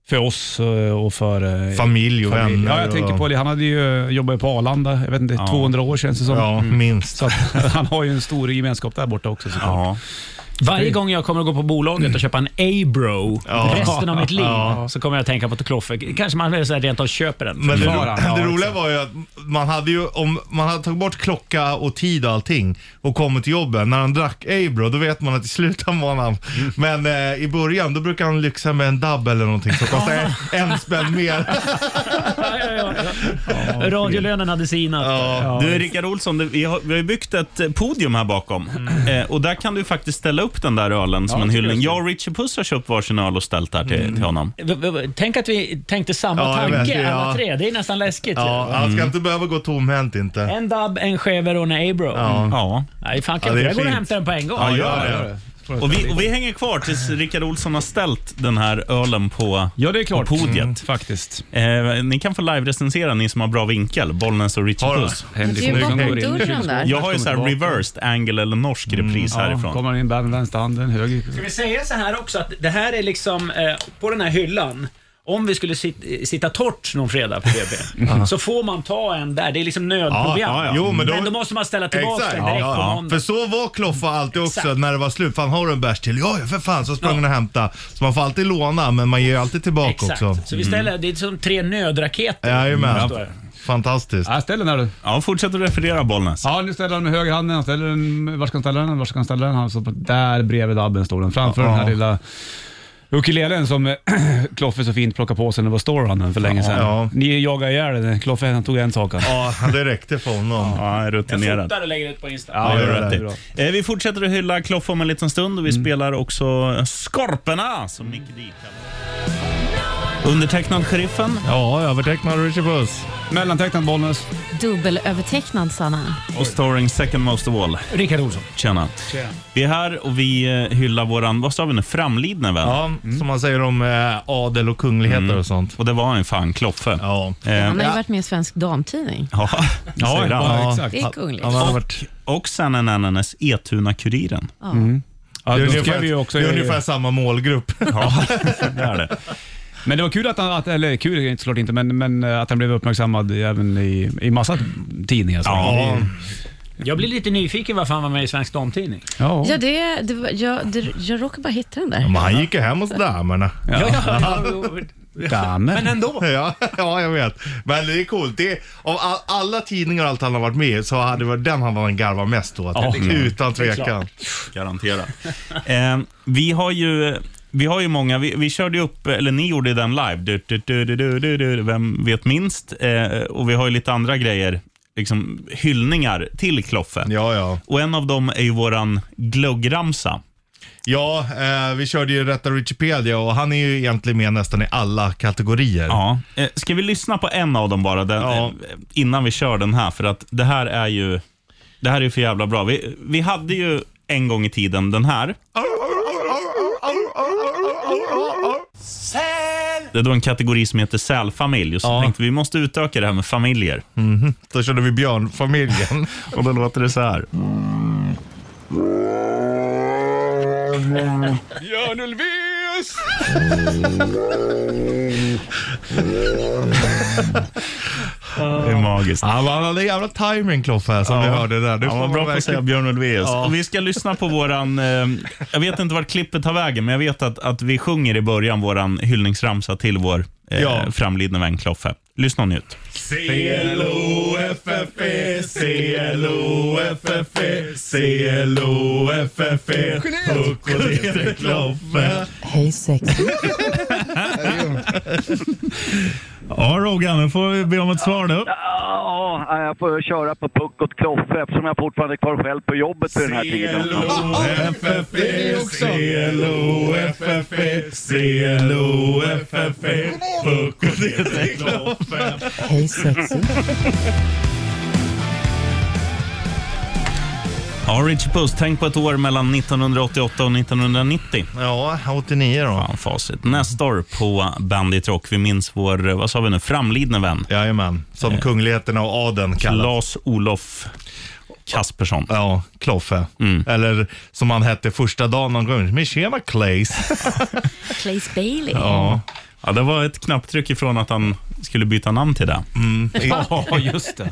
för oss eh, och för... eh,
Familj och vänner
Ja, jag
och-
tänker på det. Han hade ju eh, jobbat på Arlanda, jag vet inte, 200 år känns det som. Mm.
Ja, minst.
[LAUGHS] Så att, han har ju en stor gemenskap där borta också. såklart.
Ja.
Varje gång jag kommer att gå på bolaget och köpa en A-bro
Ja.
resten av mitt liv
Ja.
så kommer jag att tänka på Kloffe. Kanske man så här rent av köper den. [LAUGHS]
Men det, ro- [LAUGHS]
Förvarar.
det roliga var ju att man hade ju, om man hade tagit bort klocka och tid och allting och kommit till jobbet. När han drack Abro, då vet man att i slutändan var han...
Mm.
Men eh, i början, då brukar han lyxa med en dubb eller någonting som kostar
[LAUGHS]
en, en spänn mer.
Radiolönen hade sinat. Ja.
Du, Rickard Olsson, det- vi har, vi har ju byggt ett eh, podium här bakom. Eh, och där kan du faktiskt ställa upp den där ölen som
Mm. Ja,
en
det skulle
hyllning.
jag Mm.
Jag och Richie Puss har köpt varsin öl och ställt här till, till honom.
V- v- Tänk att vi tänkte samma
Ja, jag
tanke
vet det,
alla
ja.
tre. Det är nästan läskigt.
Ja,
ju.
han
Mm.
ska inte behöva gå tomhänt inte.
En dubb, en skever och en Abro.
Ja.
ja.
Nej, fan
Ja,
kan
det är
jag går och
fint.
hämtar den på en gång.
Ja, gör det. Och vi, och vi hänger kvar tills Rickard Olsson har ställt den här ölen på, ja, det är klart. på podiet.
Mm, faktiskt.
Eh, ni kan få live-recensera, ni som har bra vinkel, Bollnäs och Richie
Har du?
Puss.
Henrik Du, bakom Henrik. dörren där.
Jag har ju så här
Kommer tillbaka.
reversed angle eller norsk repris härifrån.
Kommer han in med vänster handen, höger.
Ska vi säga så här också att det här är liksom eh, på den här hyllan. Om vi skulle sit, eh, sitta torrt någon fredag på
[LAUGHS] Ja.
BB så får man ta en där. Det är liksom nödprogram.
Ja, ja, ja. Jo, men då-
måste man ställa tillbaka
Exakt.
den direkt
Ja,
på
ja.
måndag.
För så var Kloffa alltid också
Exakt.
när det var slut. Fan har du en bärs till? Ja, ja, för fan. Så sprang han och hämtade. Så man får alltid låna men man ger ju alltid tillbaka
Exakt.
också. Mm.
Så vi ställer, det är som tre nödraketer.
Jajamän.
Förstår jag.
Fantastiskt.
Ja, ställ den här du.
Ja, fortsätt att referera Bollnäs.
Ja, nu ställer han med höger handen. Han ställer den, var ska han ställa den? Var ska han ställa den? Han står på, där bredvid dabben står den. Framför
Ja.
den här lilla ukulelen som eh, [CLEARS THROAT] Kloffe så fint plockade på sig när det var Storehandlen för länge sedan.
Ja.
Ni jagade ihjäl den. Kloffe han tog en sak. alltså.
Ja, det räckte för honom.
Ja, han är
Jag
rutinerad.
fotar och lägger ut på Insta.
Ja,
gör
gör
det.
rätt i. Eh, Vi fortsätter att hylla Kloff om en liten stund och vi spelar också Skorporna som Nicky D kallar det. Undertecknad Sheriffen.
Ja, övertecknad Richie Puss.
Mellantecknad Bollnäs.
Dubbelövertecknad, Sanna.
Och starring second most of all.
Rickard Olsson.
Tjena. Vi är här och vi eh, hyllar våran, vad sa vi nu, framlidne vän.
Ja, som man säger om eh, adel och kungligheter
Mm.
och sånt.
Och det var en fan Kloffe.
Ja.
Han har ju
ja.
varit med i Svensk Damtidning.
Ja,
Ja,
säger han.
ja, exakt. Det är kungligt.
Han har varit- Och sen en ananas, Etuna-Kuriren.
Ja.
Mm. Ja,
Det är
då ska
ungefär-
vi ju också-
det är ungefär
samma målgrupp.
Ja, [LAUGHS] det är det.
Men det var kul att han, att, eller kul är det såklart inte, men, men eh, att han blev uppmärksamad även i, i massa tidningar. Så.
Ja.
Jag blir lite nyfiken varför han var med i Svensk Damtidning.
Ja.
Ja, det, det, var- jag, det, jag råkade bara hitta den där.
Men han gick ju hem hos damerna.
Ja, [LAUGHS] ja,
Damer.
Men ändå.
[LAUGHS] Ja, ja, jag vet. Men det är coolt. Det är, av all, alla tidningar och allt han har varit med i så hade det varit den han var garvat mest åt.
Ja, det är klart.
utan
Det är
tvekan.
klart. Garanterat. eh, vi har ju... Vi har ju många, vi, vi körde ju upp, eller ni gjorde ju den live, du, du, du, du, du, du, du, vem vet minst? Eh, och vi har ju lite andra grejer, liksom hyllningar till Kloffe.
Ja, ja.
Och en av dem är ju våran glöggramsa.
Ja, eh, vi körde ju Rätta Wikipedia och han är ju egentligen med nästan i alla kategorier.
Ja. Eh, Ska vi lyssna på en av dem bara, den, eh, innan vi kör den här? För att det här är ju, det här är ju för jävla bra. Vi, vi hade ju en gång i tiden den här. Det är då en kategori som heter sälfamilj. Och så tänkte vi, vi måste utöka det här med familjer.
Mhm. Då körde vi Björnfamiljen.
[LAUGHS] och då låter det så här.
Björn Ulvaeus!
Det är magiskt.
Ja, men han hade jävla timing Kloffe här, som
Ja.
vi hörde där. Nu
Han
får
var
man
bra på att
verkligen-
säga Björn Ulvaeus.
Ja.
Och Vi ska lyssna på våran... Eh, jag vet inte vart klippet tar vägen, men jag vet att, att vi sjunger i början våran hyllningsramsa till vår eh,
Ja.
framlidne vän Kloffe. Lyssna och njut.
C-L-O-F-F-E, C-L-O-F-F-E, C-L-O-F-F-E, E. Huck och Lete Kloffe.
Hej sex.
Ja, Rogan, nu får vi be om ett svar nu.
Ja, jag får köra på puck åt Kloffe eftersom jag fortfarande är kvar själv på jobbet vid den här tiden.
C-L-O-F-F-E, C-L-O-F-F-E, C-L-O-F-F-E, Huck och Lete Kloffe.
Hej
[LAUGHS]
sexy.
Ja, Richie Puss, tänk på ett år mellan 1988 och 1990.
Ja, 89 då.
Fan, facit. Nestor på Bandit Rock. Vi minns vår, eh, vad sa vi nu, framlidne vän.
Jajamän, som kungligheterna och adeln kallas.
Klas-Olof Kaspersson.
Ja, Kloffe. Eller som han hette första dagen han kom in. Men tjena Claes.
Claes Bailey.
Ja.
Ja, det var ett knapptryck ifrån att han skulle byta namn till det.
Mm. [LAUGHS]
Ja, just det.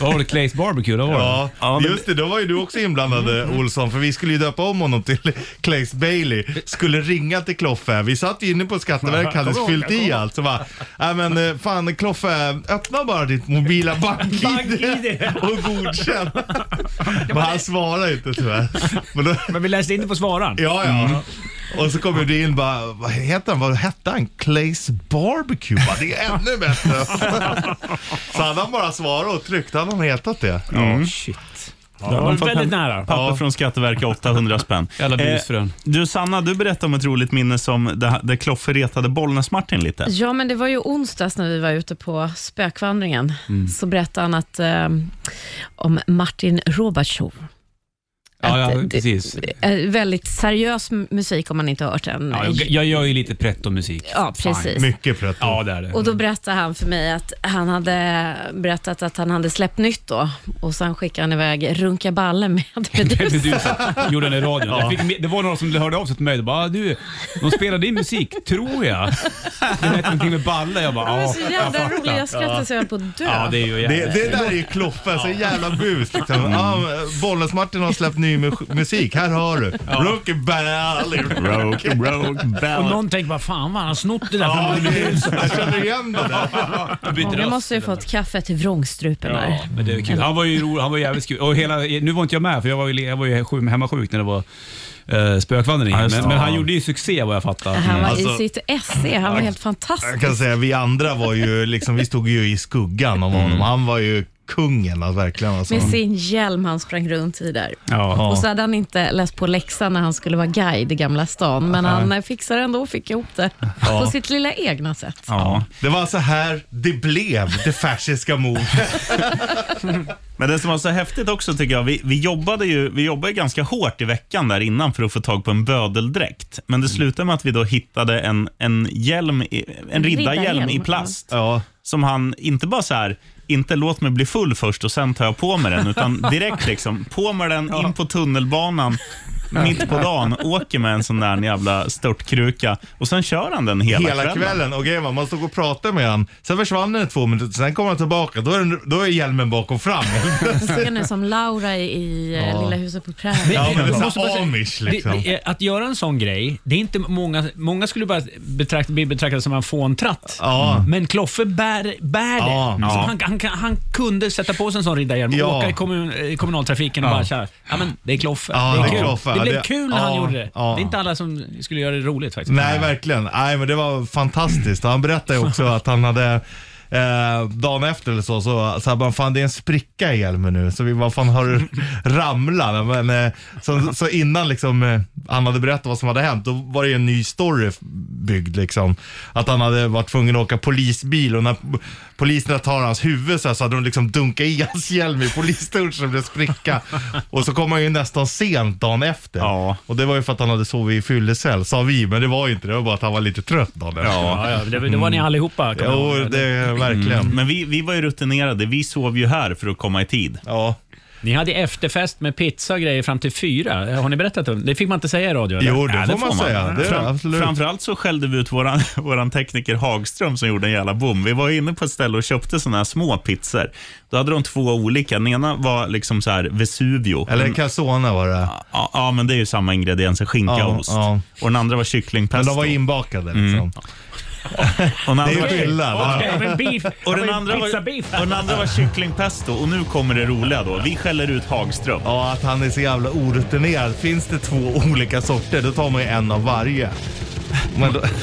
Vad var det? Clays Barbecue? Då var
Ja,
det. Ja, men-
just det. Då var ju du också inblandad eh, Olsson, för vi skulle ju döpa om honom till [LAUGHS] Claes Bailey. Skulle ringa till Kloffe. Vi satt ju inne på [LAUGHS] Skatteverket, hade
Kommer
fyllt
ihåg, jag
i
kommer
allt. Så bara, nej men eh, fan Kloffe, öppna bara ditt [LAUGHS] mobila bank-id [LAUGHS] och godkänn. Men han svarade inte tyvärr. [LAUGHS] Men,
vi läste inte på svararen.
Ja, ja.
Mm.
Och så kom ju du in bara, vad heter han? Vad hette han? Clays Barbecue? Bara, det är ännu
[LAUGHS]
bättre. så hade han bara svarat och tryckt, hade han hetat det.
Mm.
Shit.
Ja, de får pap- Papper från Skatteverket, 800 [LAUGHS] spänn. Eh,
Jävla busfrön.
du Sanna, du berättade om ett roligt minne som där, där Kloffe retade Bollnäs-Martin lite.
[LAUGHS] Ja, men det var ju onsdags när vi var ute på spökvandringen.
Mm.
Så berättade han att, eh, om Martin Robartshov.
Ja, ja, precis.
Eh, väldigt seriös m- musik om man inte har hört den.
Ja, jag, jag gör ju lite pretto-musik.
Ja, precis.
Fan.
Mycket pretto.
Ja, det är det. [LAUGHS]
Och då berättade han för mig att han hade berättat att han hade släppt nytt då och sen skickade han iväg Runka Balle
[LAUGHS]
med [LAUGHS] Meduza.
Medusa gjorde den i radion. Jag fick, med- det var några som hörde av sig till mig och bara, "Ah, du, de spelar din musik, tror jag. Den hette någonting med balle. Jag bara,
De är
ja,
så
jag
jävla
fattar."
roliga, jag skrattade så jag höll på att dö.
Ja, Mm. det är ju
Det,
jävligt.
det där är ju Kloffe, så jävla bus liksom. Ja, Bollnäs-Martin har släppt ny mu- musik, här har du.
Ja.
Rocky Bally.
Rocky, rocky
Och någon tänker bara, fan vad han har snott det där
Ja,
från
det-
Meduza.
jag känner igen det där.
Många måste ju fått kaffe till vrångstrupen
Ja,
där.
men det är kul. Han var ju rolig, han var jävligt kul. Och hela, nu var inte jag med, för jag var ju, jag var ju sjuk, hemmasjuk när det var uh, spökvandring.
Ja, just det.
men, men han gjorde ju succé vad jag fattar.
Han var
Alltså-
i sitt esse, han var helt
Jag
fantastisk.
kan säga, vi andra var ju liksom, vi stod ju i skuggan av
Mm.
honom. Han var ju kungen alltså, verkligen. Alltså.
Med sin hjälm han sprang runt i där.
Ja.
Och så hade han inte läst på läxan när han skulle vara guide i Gamla stan, men
Nej.
han eh, fixade ändå och fick ihop det
Ja.
på sitt lilla egna sätt.
Ja. Det var så här det blev, det färsiska mordet.
Men det som var så häftigt också tycker jag, vi, vi jobbade ju vi jobbade ganska hårt i veckan där innan för att få tag på en bödeldräkt. Men
Mm.
det slutade med att vi då hittade en, en hjälm, i- en
En
riddarhjälm
riddarhjälm,
i
ja.
plast. Som han, inte bara så här, inte låt mig bli full först och sen tar jag på mig
[LAUGHS]
den, utan direkt liksom, på med den, in på tunnelbanan, mitt på dagen, åker med en sån där jävla störtkruka och sen kör han den hela,
Hela, kvällen. Och grejen var, man stod och pratade med han. Sen försvann den i två minuter, sen kom han tillbaka. Då är, den, då är hjälmen bakom [LAUGHS] fram.
Ska nu som Laura i, i eh,
Ja.
Lilla huset på prärien.
Ja, men det är
Måste
så
bara säga,
här amish liksom.
det- det- Att göra en sån grej, det är inte många, många skulle bara betrakta, bli betraktade som en fåntratt.
Ja.
Men Kloffe bär, bär det.
Ja.
Så
Ja.
Han, han, kan- han kunde sätta på sig en sån riddarhjälm och
Ja.
åka i kommun, eh, kommunaltrafiken och
Ja.
bara så här, ja men det är Kloffe.
Ja,
det,
det
är
är
kul.
Kloffe.
det blev
Det-
kul när han
ja.
gjorde det.
Ja.
Det är inte alla som skulle göra det roligt faktiskt.
Nej, verkligen. Nej, men det var fantastiskt. Han berättade ju också att han hade Eh, dagen efter eller så, så sa han fan det är en spricka i hjälmen nu, så vi bara fan har du [LAUGHS] ramlat? Men, eh, så, så innan liksom, eh, han hade berättat vad som hade hänt, då var det ju en ny story byggd liksom. Att han hade varit tvungen att åka polisbil och när poliserna tar hans huvud så, här, så hade de liksom dunkat i hans hjälm i polisdörren så det blev spricka. Och så kom han ju nästan sent dagen efter. Och det var ju för att han hade sovit i fyllecell, sa vi, men det var ju inte det. Det var bara att han var lite trött dagen efter.
Ja, ja, det, det var ni allihopa. kan jag
Mm. Jo,
ihåg.
det Mm. verkligen.
Men vi, vi var ju rutinerade, vi sov ju här för att komma i tid.
Ja.
Ni hade efterfest med pizza och grejer fram till fyra. Har ni berättat om det? Det fick man inte säga i radio?
Jo, det får man säga. Det är det,
absolut.
Framförallt så skällde vi ut våran, [LAUGHS] våran tekniker Hagström som gjorde en jävla bom. Vi var inne på ett ställe och köpte såna här små pizzor. Då hade de två olika. Den ena var liksom så här Vesuvio. Mm.
Eller calzone var det.
Ja, ja, men det är ju samma ingredienser, skinka
Ja,
och ost.
ja.
Och den andra var
Men
kycklingpesto.
de var inbakade liksom.
Och den
Det är
andra-
ju skillnad.
Okej,
Ja.
men
[LAUGHS]
beef-
Och den
men
andra var,
pizza beef.
och den andra var kycklingpesto. Och nu kommer det roliga då. Vi skäller ut Hagström.
Ja, att han är så jävla orutinerad. Finns det två [LAUGHS] olika sorter, då tar man ju en av varje.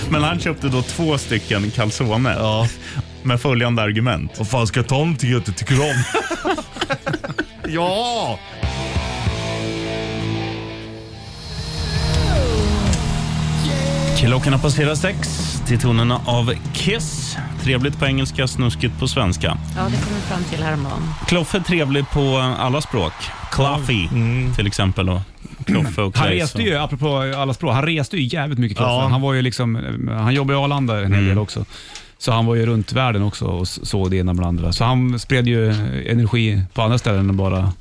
Men,
han köpte då två stycken calzone.
Ja.
Med följande argument.
Vad fan ska jag ta om till jag inte tycker om? ja!
Klockan har passerat sex till tonerna av Kiss. Trevligt på engelska, snuskigt på svenska.
Ja, det kom vi fram till häromdagen.
Kloffe är trevlig på alla språk. Claffy till exempel. Och Kloffe och
Han
Clay,
reste
så-
ju, apropå alla språk, han reste ju jävligt mycket. Kloffe.
Ja.
Han, var ju liksom, han jobbade i Arlanda en hel del också. Så han var ju runt världen också och s- såg det ena med det andra. Så han spred ju energi på andra ställen än bara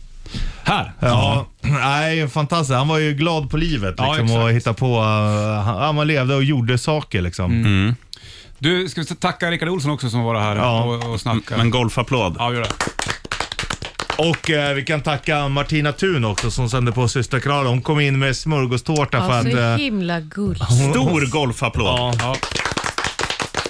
här.
[LAUGHS] Ja, nej fantastiskt. Han var ju glad på livet
Ja,
liksom,
exakt.
och hittade på. Uh, han, han levde och gjorde saker liksom.
Mm. Du, ska vi tacka Rickard Olsson också som var här och, och snackade?
Men golfapplåd.
Ja, gör det.
Och eh, vi kan tacka Martina Thun också som sände på systerkanalen. Hon kom in med smörgåstårta för
Ja,
att...
så
eh,
himla gulligt.
Stor golfapplåd.
Mm. Ja.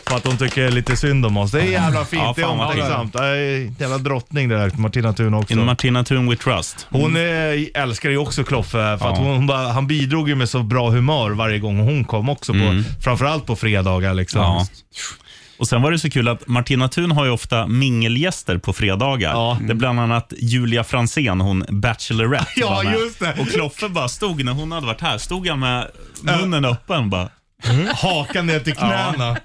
För att hon tycker lite synd om oss. Det är jävla fint.
Ja,
det är
fan vad
omtänksamt. Det är jävla drottning det där, Martina Thun också.
In Martina Thun we trust.
Hon eh, älskar ju också Kloffe, för
Ja.
att hon, hon bara, han bidrog ju med så bra humör varje gång hon kom också, på,
Mm.
framförallt på fredagar. Liksom.
Ja. Och sen var det så kul att Martina Thun har ju ofta mingelgäster på fredagar. Det är bland annat Julia Franzén, hon Bachelorette.
Ja,
var med.
just det.
Och Kloffe bara stod, när hon hade varit här, stod han med munnen öppen och bara...
Hakan Mm. ner till knäna.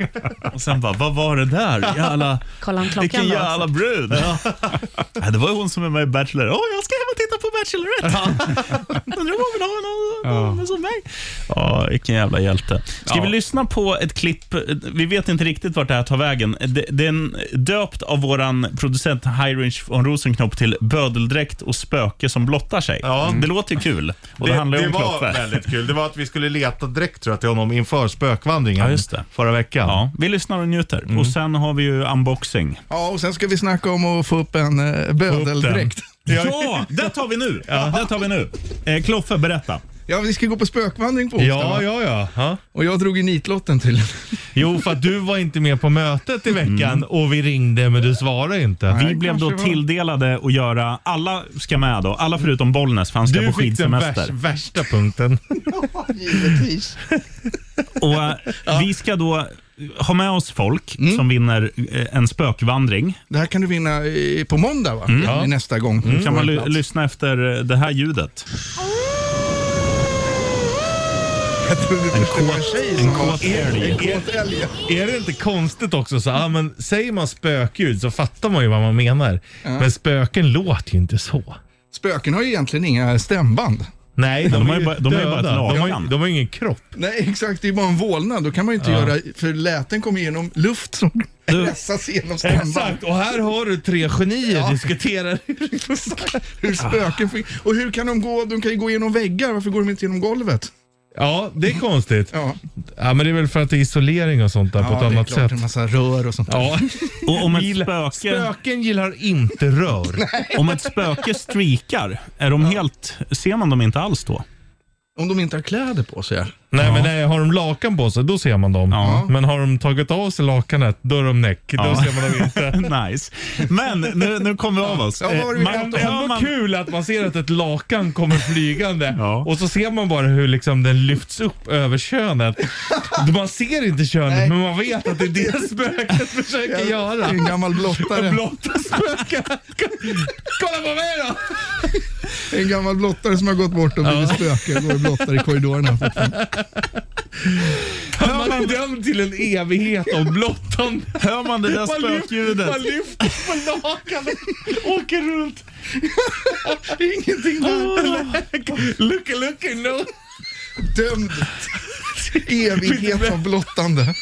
Och sen bara, vad var det där? Jävla,
Kolla han klockan
vilken
då alltså.
jävla
också?
brud. [LAUGHS] Ja, det var ju hon som är med i Bachelor. Åh, jag ska hem och titta på Bachelorette. [LAUGHS] Undrar om hon vill ha någon någon som mig. Ja, vilken jävla hjälte. Ska vi lyssna på ett klipp? Vi vet inte riktigt vart det här tar vägen. Det- Den döpt av våran producent Heinrich von Rosenknopp till Bödeldräkt och spöke som blottar sig. Det låter ju kul. Och det, handlar ju om
var
Kloffe.
väldigt kul. Det var att vi skulle leta direkt tror jag, till honom inför spökvandringen
Ja, just det.
förra veckan.
Ja, vi lyssnar och njuter. Och sen har vi ju unboxing.
Ja, och sen ska vi snacka om att få upp en eh, bödeldräkt.
Ja, det tar vi nu. Det tar vi nu. Eh, Kloffe, berätta.
Ja, vi ska gå på spökvandring på onsdag. va?
ja, ja. ja.
Och jag drog ju nitlotten till.
Jo, för att du var inte med på mötet i veckan och vi ringde men du svarade inte.
Vi blev då tilldelade att göra, alla ska med då, alla förutom Bollnäs för han ska
Du
på
fick den
skidsemester.
värst- värsta punkten. [LAUGHS]
Givetvis.
Och, eh, Vi ska då ha med oss folk som vinner eh, en spökvandring.
Det här kan du vinna eh, på måndag va?
Mm.
Det är Nästa gång.
Mm. kan man ly- lyssna efter eh, det här ljudet.
Jag trodde det skulle vara en tjej som var...
Är det inte konstigt också så, ah, men säger man spökljud så fattar man ju vad man menar. Men spöken låter ju inte så.
Spöken har ju egentligen inga stämband.
Nej,
Men
de,
de har
är
ju bara-
ju
de har ju bara ett
döda. De har ju-
lakan.
De har ju ingen kropp.
Nej, exakt. Det är bara en vålnad. Då kan man ju inte
Ja.
göra... För läten kommer genom luft som
Du-
pressas genom stämband.
Exakt, och här har du tre genier
Ja.
diskuterar. [LAUGHS]
Hur spöken får... Och hur kan de gå? De kan ju gå genom väggar. Varför går de inte genom golvet?
Ja, det är konstigt.
Ja,
Ja, men det är väl för att det är isolering och sånt där på ett
det är
annat
klart.
sätt.
En massa rör och sånt där.
Ja.
Och om ett
Gillar-
spöke,
Spöken gillar inte rör.
om ett spöke streakar, är de helt, ser man dem inte alls då?
Om de inte har kläder på sig. ja.
Nej, men nej, har de lakan på sig, då ser man dem.
Ja.
Men har de tagit av sig lakanet, då är de näck. Då
Ja.
ser man dem
[LAUGHS]
inte.
nice. Men nu, nu kommer vi av oss.
Ja, vad var det vi
Eh,
pratade
Det är
gör
ändå
man-
kul att man ser att ett lakan kommer flygande
Ja.
och så ser man bara hur liksom den lyfts upp över könet. Man ser inte könet,
Nej.
men man vet att det är det spöket försöker
Det är
göra.
en gammal blottare.
Blotta spöken. Kolla på mig då!
En gammal blottare som har gått bort och blivit spöke. Går och blottar i korridorerna.
Man är dömd till en evighet av blottande.
Hör man det där
Man lyfter-
spökljudet?
Man lyfter på lakanet, åker runt.
Ingenting
Lucka, lucka, no.
dömd till evighet av blottande.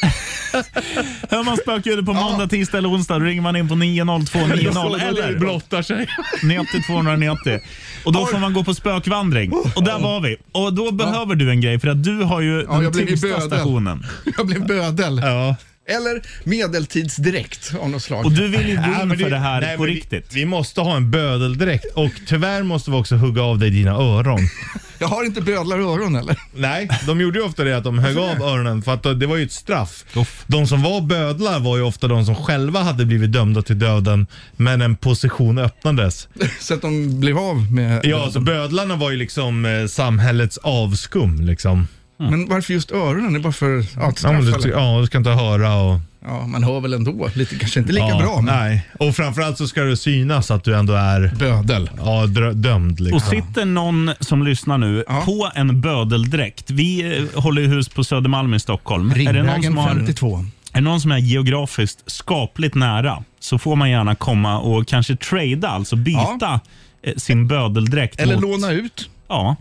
Hör man spökljudet på måndag, tisdag eller onsdag, då ringer man in på 90290 eller
blottar sig.
90 290. Och då får man gå på spökvandring. Och där var vi. Och då behöver du en grej, för att du har ju den
jag blev ju
tyngsta
bödel.
stationen.
Jag blev bödel.
Ja.
Eller medeltidsdräkt av något slag.
Och du vill ju gå
Nej,
in
men
för det här
nej,
på
men
riktigt.
Vi, vi måste ha en bödeldräkt och tyvärr måste vi också hugga av dig dina öron.
[LAUGHS] Jag har inte bödlar i öron eller?
Nej, de gjorde ju ofta det att de högg av öronen för att eh, det var ju ett straff. De som var bödlar var ju ofta de som själva hade blivit dömda till döden men en position öppnades.
Så att de blev av med...
Ja, så bödlarna var ju liksom eh, samhällets avskum liksom.
Men varför just öronen? Det är bara för ja, att
Ja,
straffa?
men du,
eller?
ty- ja, du ska inte höra och...
ja, man hör väl ändå. Lite, kanske inte lika
ja,
bra, men
Nej, och framförallt så ska det synas att du ändå är
bödel.
ja, drö- dömd liksom.
Och sitter någon som lyssnar nu
Ja.
på en bödeldräkt. Vi eh, håller ju hus på Södermalm i Stockholm. Är det, någon
Ringvägen
som har,
52.
är det någon som är geografiskt skapligt nära så får man gärna komma och kanske trada, alltså byta eh, sin bödeldräkt
Eller
mot...
låna ut.
Ja,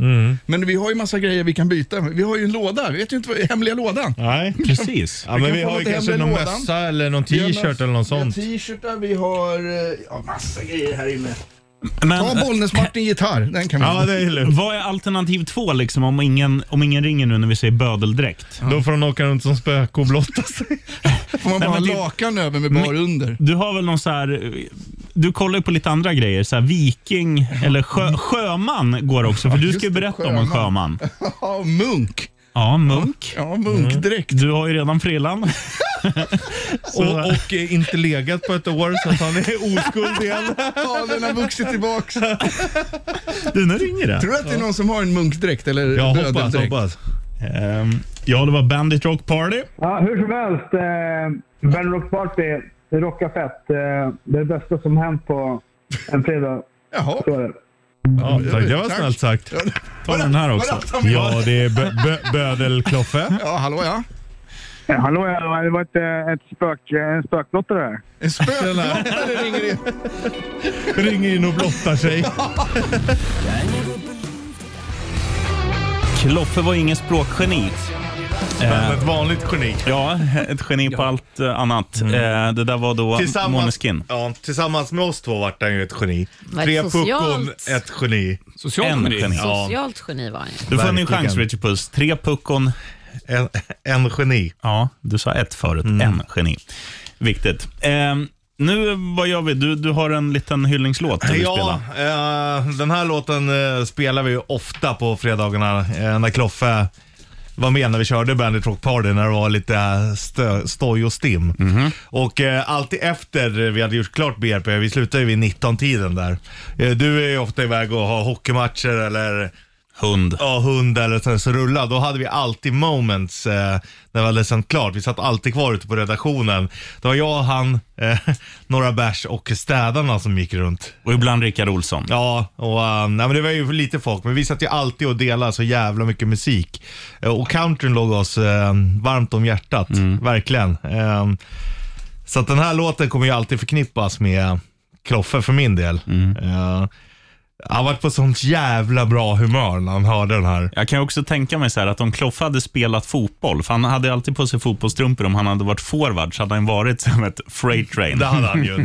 Men vi har ju massa grejer vi kan byta. Vi har ju en låda. Vi vet ju inte vad hemliga lådan.
Nej.
[LAUGHS] precis.
Ja, men
kan
vi
få
har ju
lite
kanske
hemlig
någon
lådan.
mössa eller någon t-shirt eller något
Vi har
sånt.
t-shirtar, vi har eh, ja, massa grejer här inne. Ta Bollnäs-Martin gitarr. Den kan vi
Ja, det är lugnt. eh, Vad är alternativ två liksom, om, ingen, om ingen ringer nu när vi säger bödeldräkt?
Då får de åka runt som spöke och blotta sig.
Får man bara ha lakan över med bar under?
Du har väl någon så här... eh, Du kollar ju på lite andra grejer. Så här viking eller sjö, sjöman går också. För
Mm. Ja,
du
just
ska ju
det,
berätta om en sjöman.
Ja, munk.
Ja, munk. Mm.
Ja, munkdräkt.
Du har ju redan frillan. [LAUGHS]
och, och eh, inte legat på ett år så att han [LAUGHS] är oskuld igen.
Ja, den har vuxit tillbaks.
Du, nu ringer det.
Tror du att det är någon som har en munkdräkt eller
Jag hoppas,
bödeldräkt?
hoppas. Ehm, ja, det var Bandit Rock Party.
Ja, hur som helst. Eh, ben Rock Party, det rockar fett. Eh, det är det bästa som hänt på en fredag.
Jaha.
Så är det.
Ja, tack, det var snällt sagt.
Ta den här
också.
Ja, det är bö, bö,
[LAUGHS]
Bödel-Kloffe.
Ja, hallå ja.
[LAUGHS] Eh, hallå, ja, det var ett, eh, ett spök, en spökblotta det här.
En
Spökblottare ringer in. ringer in och blottar sig.
Kloffe var ingen språkgeni.
Men ett vanligt geni.
Ja, ett geni på allt eh, annat. Eh, Det där var då
Tillsammans,
Måneskin.
ja, tillsammans med oss två vart han ju ett geni.
Vad
Tre puckon,
socialt.
ett geni.
En geni. Ja.
Socialt geni var han ju.
Du får en ny
Verkligen.
chans, Richard Puss. Tre puckon.
En, en geni.
Ja, du sa ett förut. En geni. Viktigt. Eh, nu, vad gör vi? Du, du har en liten hyllningslåt du vill
Ja,
spela.
eh, den här låten eh, spelar vi ju ofta på fredagarna eh, när Kloffe var med när vi körde Bandit Rock Party när det var lite eh, stö, stoj och stim. Och eh, alltid efter vi hade gjort klart BRP, vi slutar ju vid 19-tiden där. Eh, du är ju ofta iväg och har hockeymatcher eller
Hund.
Ja, hund eller så, så rulla. Då hade vi alltid moments eh, när vi hade sänt klart. Vi satt alltid kvar ute på redaktionen. Det var jag, han, eh, [LAUGHS] några bärs och städarna som gick runt.
Och ibland Rickard Olsson.
Ja, och, eh, nej, men det var ju lite folk, men vi satt ju alltid och delade så jävla mycket musik. Eh, och countryn låg oss eh, varmt om hjärtat, verkligen. Eh, så att den här låten kommer ju alltid förknippas med Kloffe för min del. Eh, han varit på sånt jävla bra humör när han hörde den här.
Jag kan också tänka mig så här att om Kloffe hade spelat fotboll, för han hade ju alltid på sig fotbollstrumpor, om han hade varit forward så hade han varit [LAUGHS] som ett freight train.
Det hade han ju.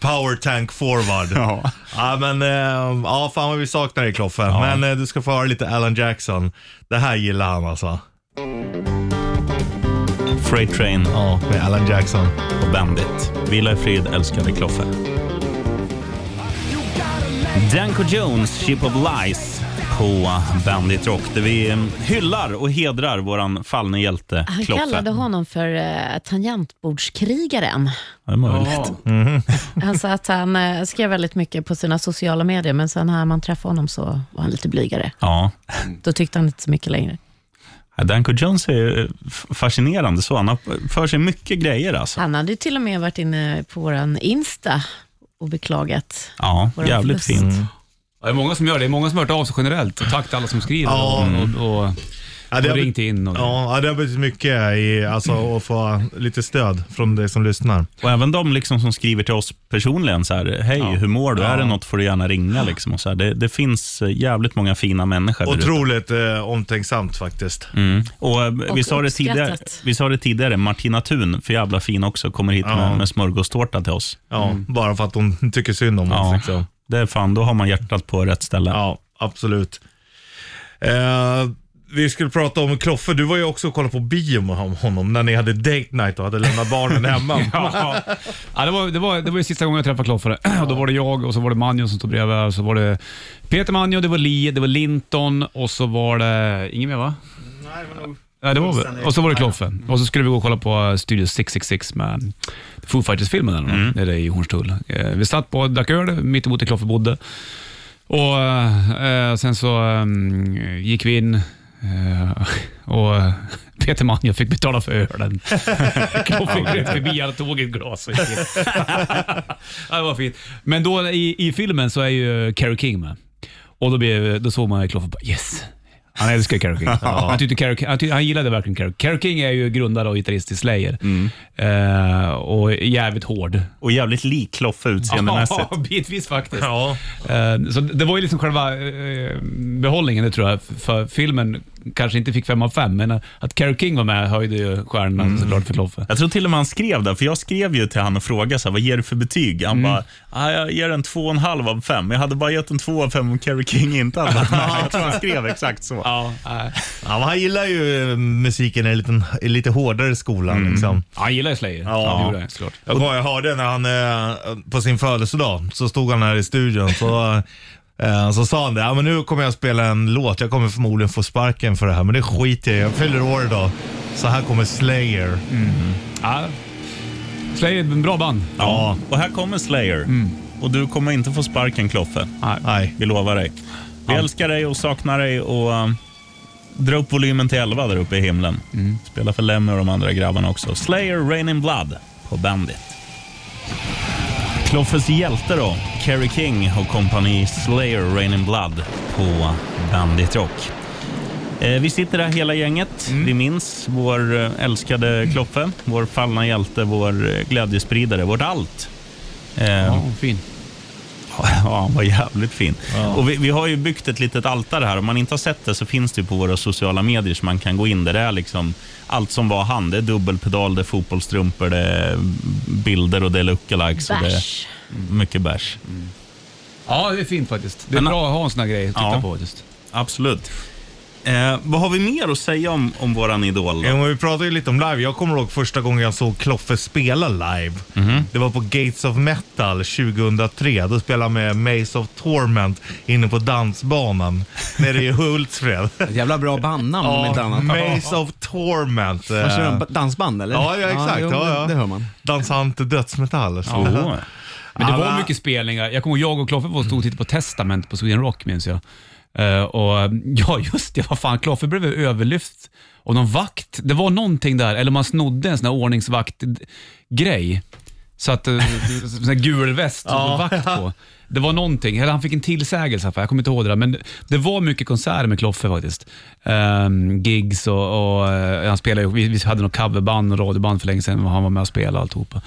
Power tank forward. Ja. men, eh, ja, fan vad vi saknar dig Kloffe. Men eh, du ska få höra lite Alan Jackson. Det här gillar han alltså.
Freight train.
Ja, med Alan Jackson.
Och Bandit. Vila i frid, älskade Kloffe. Danko Jones, Ship of Lies på Bandit Rock, där vi eh, hyllar och hedrar våran fallne hjälte
Han
Kloffe.
kallade honom för eh, tangentbordskrigaren.
Ja, det är möjligt.
Han sa att han eh, skrev väldigt mycket på sina sociala medier, men sen när man träffade honom så var han lite blygare.
Mm.
Ja.
Då tyckte han inte så mycket längre.
Ja, Danko Jones är ju, eh, f- fascinerande så. Han har för sig mycket grejer alltså.
Han hade ju till och med varit inne på våran Insta och beklagat
Ja,
våran
jävligt
förlust.
fint.
Ja, det är många som gör det. Det är många som har hört av sig generellt. Tack till alla som skriver
Ja.
och, och, och,
det
och
har-
ringt in. Och,
Ja, ja, det har betytt mycket i, alltså, att få lite stöd från dig som lyssnar.
Och även de liksom som skriver till oss personligen, så här, hej, hur mår du? Är det något får du gärna ringa. Liksom, och så här, det, det finns eh, jävligt många fina människor där ute.
Otroligt eh, omtänksamt faktiskt.
Mm. Och, eh, vi,
Och
sa det tidigare,
uppskattat.
vi sa det tidigare, Martina Thun, för jävla fin också, kommer hit
Ja.
med, med smörgåstårta till oss.
Ja,
Mm.
bara för att hon tycker synd om oss. Liksom.
Det är fan, då har man hjärtat på rätt ställe.
Ja, absolut. Eh, vi skulle prata om Kloffe. Du var ju också och kollade på bio med hon- honom när ni hade date night och hade lämnat barnen hemma.
[LAUGHS] ja. Ja, det, var, det, var, det var ju sista gången jag träffade Kloffe. [CLEARS THROAT] Och Då var det jag och så var det Manjo som stod bredvid. Och så var det Peter Manjo, det var Li, det var Linton och så var det... Eh, Ingen mer va? Nej, det var vi. Och så var det Kloffe. Och så skulle vi gå och kolla på eh, Studio 666 med Foo Fighters-filmen eller mm. nere i Hornstull. Eh, Vi satt på och drack öl mitt emot där Kloffe bodde. Och eh, sen så eh, gick vi in eh, och eh, Peter Manjo fick betala för ölen. Kloffe gled förbi, han tog ett glas och gick in. ja, det var fint. Men då i, i filmen så är ju Carrie King med. Och då, blev, då såg man Kloffe bara yes. Han älskar Carrie
[LAUGHS]
King. Han, tyckte Carrie, han, tyckte, han gillade verkligen Carrie Carrie King är ju grundare och gitarrist i Slayer.
Mm.
Eh, och jävligt hård.
Och jävligt lik Kloffe utseendemässigt.
[LAUGHS] Ja, bitvis faktiskt. Eh, så det var ju liksom själva eh, behållningen, det tror jag. För filmen kanske inte fick fem av fem, men eh, att Carole King var med höjde ju stjärnan
Mm.
såklart för Kloffe.
Jag tror till och med han skrev det, för jag skrev ju till han och frågade så här, vad ger du för betyg. Han
Mm.
bara, ah, jag ger en två och en halv av fem. Jag hade bara gett en två av fem om Carrie King inte hade varit
[LAUGHS]
med. Jag tror han skrev exakt så.
Ja,
Ja, men han gillar ju eh, musiken i lite, i lite hårdare skolan. Liksom.
Han gillar ju Slayer.
Ja.
Det gjorde han, såklart.
Jag, kommer ihåg, jag hörde när han eh, på sin födelsedag så stod han här i studion. Så, [LAUGHS] eh, så sa han det, ja, men nu kommer jag spela en låt. Jag kommer förmodligen få sparken för det här, men det skiter jag i. Jag fyller år idag. Så här kommer Slayer.
Mm.
Ja. Slayer är en bra band.
Ja, och här kommer Slayer. Och du kommer inte få sparken, Kloffe.
Nej.
Vi lovar dig. Vi älskar dig och saknar dig och um, dra upp volymen till 11 där uppe i himlen. Spela för Lemmy och de andra grabbarna också. Slayer, Rain in Blood på Bandit. Kloffes hjälte då, Kerry King och kompani Slayer, Rain in Blood på Bandit Rock. Eh, Vi sitter här hela gänget. Vi minns vår eh, älskade Kloffe, vår fallna hjälte, vår eh, glädjespridare, vårt allt. Ehm, Ja,
fin.
[LAUGHS] Ja, han var jävligt fin. Och vi, vi har ju byggt ett litet altare här. Om man inte har sett det så finns det ju på våra sociala medier så man kan gå in. Där det är liksom allt som var han. Det är dubbelpedal, det är fotbollstrumpor, det är bilder och det är lookalikes. och det är
Bärs.
Mycket bärs.
Ja, det är fint faktiskt. Det är
Men-
bra att ha en sån här grej att titta
Ja.
på. Just.
Absolut. Eh, vad har vi mer att säga om, om våran idol?
Ja, men vi pratade ju lite om live. Jag kommer ihåg första gången jag såg Kloffe spela live.
Mm-hmm.
Det var på Gates of Metal 2003. Då spelade han med Maze of Torment inne på dansbanan
[LAUGHS]
nere i Hultsfred.
Ett jävla bra bandnamn om inte annat.
Maze of Torment. eh,
Vad kör de? Ba- Dansband eller?
Ja, ja exakt.
jo,
Ja, ja.
Det hör man.
Dansant dansmetall.
Ja. Men det
Alla-
var mycket spelningar. Jag kommer ihåg jag och Kloffe var och stod och tittade på Testament på Sweden Rock, minns jag. Eh, och [LAUGHS] eh, Ja, just det. Vad fan, Kloffe blev överlyft av någon vakt. Det var någonting där, eller man snodde en sån här ordningsvakt-grej. Så att, eh, sån här gul väst och
Ja.
vakt på. Det var någonting, eller han fick en tillsägelse, för jag kommer inte ihåg det där, men det var mycket konserter med Kloffe faktiskt. Ehm, gigs och, och eh, han spelade, ju- vi, vi hade något coverband och radioband för länge sedan och han var med och spelade alltihopa.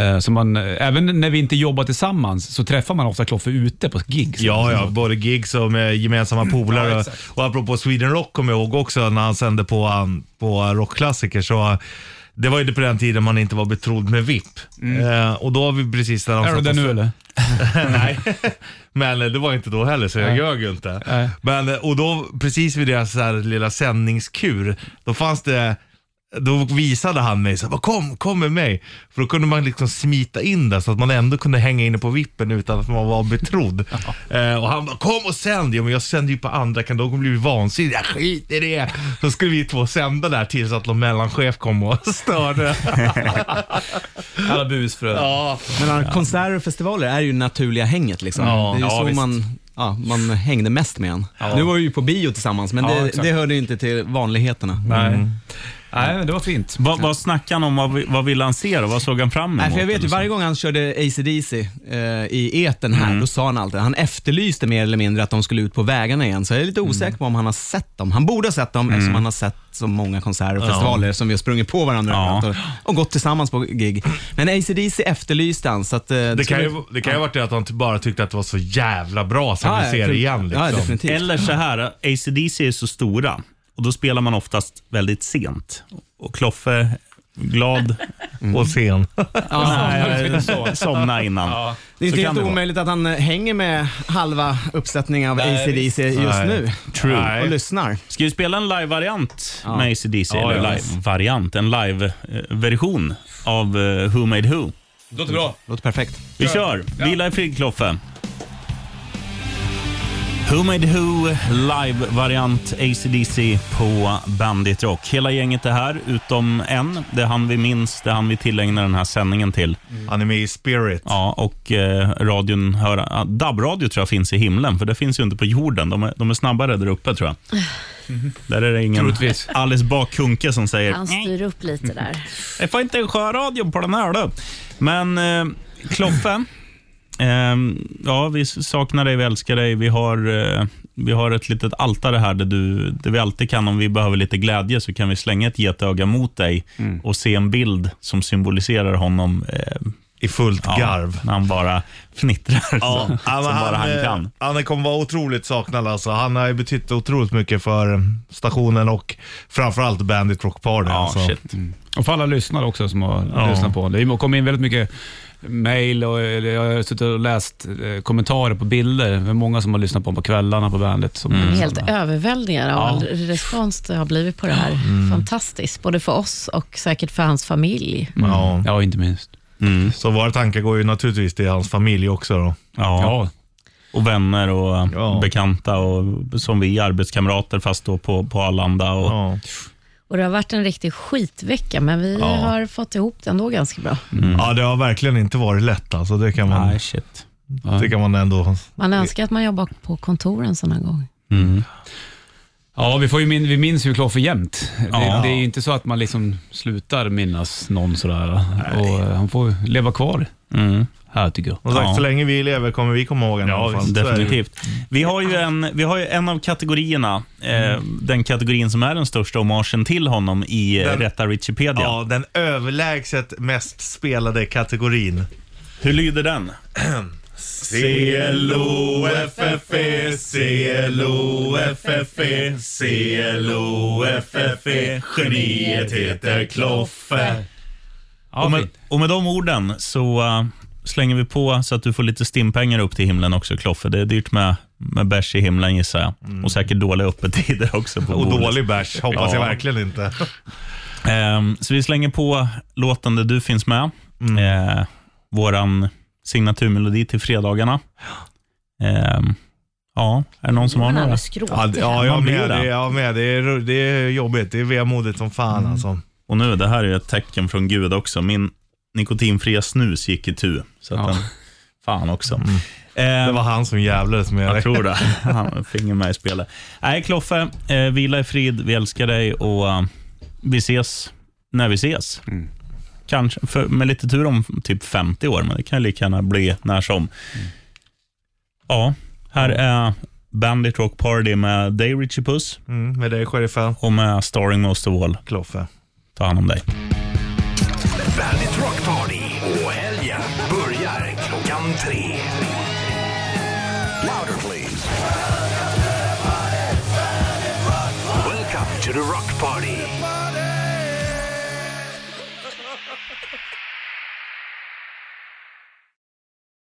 Uh, så man, eh, även när vi inte jobbar tillsammans så träffar man ofta Kloffe ute på gigs.
Ja, ja, både gigs och med gemensamma polare.
Ja, exakt.
och apropå Sweden Rock kommer jag ihåg också när han sände på, um, på rockklassiker. Så uh, det var ju det på den tiden man inte var betrodd med VIP. Eh, och då har vi precis när de
Mm. Är du
satt
det
oss-
nu eller?
[LAUGHS] Nej, men eh, det var inte då heller så jag
Nej.
ljög ju inte.
Nej.
Men, eh, och då precis vid deras så här lilla sändningskur, då fanns det då visade han mig så här, "Bara kom, kom med mig. För då kunde man liksom smita in där så att man ändå kunde hänga inne på vippen utan att man var
[LAUGHS]
betrodd. eh, och han bara, kom och sänd. Jo, men jag sänder ju på andra kan de bli vansinniga. Skit i det. Så skulle vi två sända där tills att någon mellanchef kom och [LAUGHS]
[LAUGHS]
störde.
Alla busfrön.
Ja.
Men ja. konserter och festivaler är ju naturliga hänget liksom. det
Ja.
är ju
Ja,
så
visst.
man, ja, man hängde mest med en. Nu var vi ju på bio tillsammans, men
Ja,
det,
exakt.
det hörde ju inte till vanligheterna. Mm.
Nej. Nej, men det var fint.
Vad, vad snackade han om? Vad, vi- vad ville han se då? Vad såg han fram emot?
Nej, för jag vet
eller
ju
så?
varje gång han körde AC/DC eh, i eten
Mm.
här, då sa han alltid, han efterlyste mer eller mindre att de skulle ut på vägarna igen, så jag är
Mm.
lite osäker på om han har sett dem. Han borde ha sett dem eftersom han har sett så många konserter och
Ja.
festivaler som vi har sprungit på varandra överallt och, och gått tillsammans på gig. Men AC/DC efterlyste han, så att... eh,
Det kan
skulle-
ju, det kan ju ha varit det att han bara tyckte att det var så jävla bra så
Ja,
han vill
ja,
se det
för-
igen. Liksom.
Eller så här, ACDC är så stora och då spelar man oftast väldigt sent. Och Kloffe,
[LAUGHS]
glad.
Och sen.
Nej, [LAUGHS] somna innan.
Det är
Så
inte
kan
helt
det vara.
omöjligt att han eh, hänger med halva uppsättningen av
Nej,
AC/DC just
visst. Nej.
nu.
True.
Och lyssnar.
Ska vi spela en live-variant
Ja.
med ACDC?
Ja,
eller
ja.
live-variant, en live-version av eh, Who Made Who.
Låter bra.
Låter perfekt.
Vi kör. Vila i frid, Kloffe. Who Made Who live-variant ACDC på Bandit Rock. Hela gänget är här, utom en. Det är han vi minns, det är han vi tillägnar den här sändningen till.
Han är med i Spirit.
Ja, och eh, radion hör... ah, DAB-radio tror jag finns i himlen, för det finns ju inte på jorden. De är, de är snabbare där uppe tror jag. Där är det ingen
Troligtvis.
Alice Bah Kuhnke som säger
Han styr upp lite där.
jag får inte sjöradion på den här då. Men eh, Kloffe, eh, ja, vi saknar dig, vi älskar dig. Vi har, eh, vi har ett litet altare här där, du, där vi alltid kan, om vi behöver lite glädje, så kan vi slänga ett getöga mot dig och se en bild som symboliserar honom eh,
i fullt garv.
När han bara fnittrar så,
Ja, ja, men
[LAUGHS] som bara han
eh,
kan.
Han kommer vara otroligt saknad alltså. Han har ju betytt otroligt mycket för stationen och framförallt Bandit Rock Party. Ja, alltså.
shit. Och för alla lyssnare också som har
Ja.
lyssnat på. Det kom in väldigt mycket mejl och eller jag har suttit och läst eh, kommentarer på bilder. Det är många som har lyssnat på honom på kvällarna på bandet. Som
Mm. Helt överväldigad av
Ja.
all respons det har blivit på det här. Fantastiskt, både för oss och säkert för hans familj.
Mm.
Ja.
ja, inte minst.
Så våra tankar går ju naturligtvis till hans familj också. Då.
Ja. Och vänner och bekanta och som vi arbetskamrater fast då på, på Arlanda. Och,
Och Det har varit en riktig skitvecka, men vi
Ja.
har fått ihop det ändå ganska bra.
Ja, det har verkligen inte varit lätt alltså. Det kan man,
Nej, shit.
Det kan man ändå...
Man önskar att man jobbar på kontor en sån här gång.
Ja, vi, får ju min, vi minns ju Kloffe jämt.
Ja.
Det, det är ju inte så att man liksom slutar minnas någon sådär. Och eh, han får ju leva kvar
Mm.
här tycker jag.
Som sagt, så länge vi lever kommer vi komma ihåg honom. i alla fall. Så är det ju.
definitivt. Vi har ju en, vi har ju en av kategorierna, eh, den kategorin som är den största homagen till honom i den,
Mm. Den-
Rätta Richipedia.
Ja, den överlägset mest spelade kategorin.
Hur lyder den?
CLOFFE, CLOFFE,
CLOFFE,
E. geniet heter Kloffe.
och, med, och med de orden så eh, slänger vi på så att du får lite stimpengar upp till himlen också, Kloffe. Det är dyrt med, med bärs i himlen gissar jag. Och säkert dåliga öppettider också. På
Mm. Och
bordet.
dålig bärs hoppas
Ja.
jag verkligen inte.
Ehm, så vi slänger på låten där du finns med.
Mm.
Eh, våran signaturmelodi till fredagarna. Ehm, ja, är det någon som har
Man
några?
blir skråtig.
Ja, ja jag
Man blir
med. Det,
det.
är jag med. Det, är, det är jobbigt. Det är vemodigt som fan alltså.
Och nu, det här är ju ett tecken från Gud också. Min nikotinfria snus gick i tu. Så att den, fan också.
Mm.
Ehm,
Det var han som jävlades med
Jag
dig.
tror [LAUGHS] det. Han finger med i spelet. Nej, Kloffe, eh, vila i frid. Vi älskar dig och eh, vi ses när vi ses. Kanske, för, med lite tur om typ 50 år, men det kan ju lika gärna bli när som. Ja, här är Bandit Rock Party med dig, Richie Puss.
[LAUGHS] Mm, med dig, sheriffen.
Och med Starring Most of All.
Kloffe.
Ta hand om dig.
Bandit Rock Party och helgen börjar klockan tre. Louder please. Welcome to the Rock Party.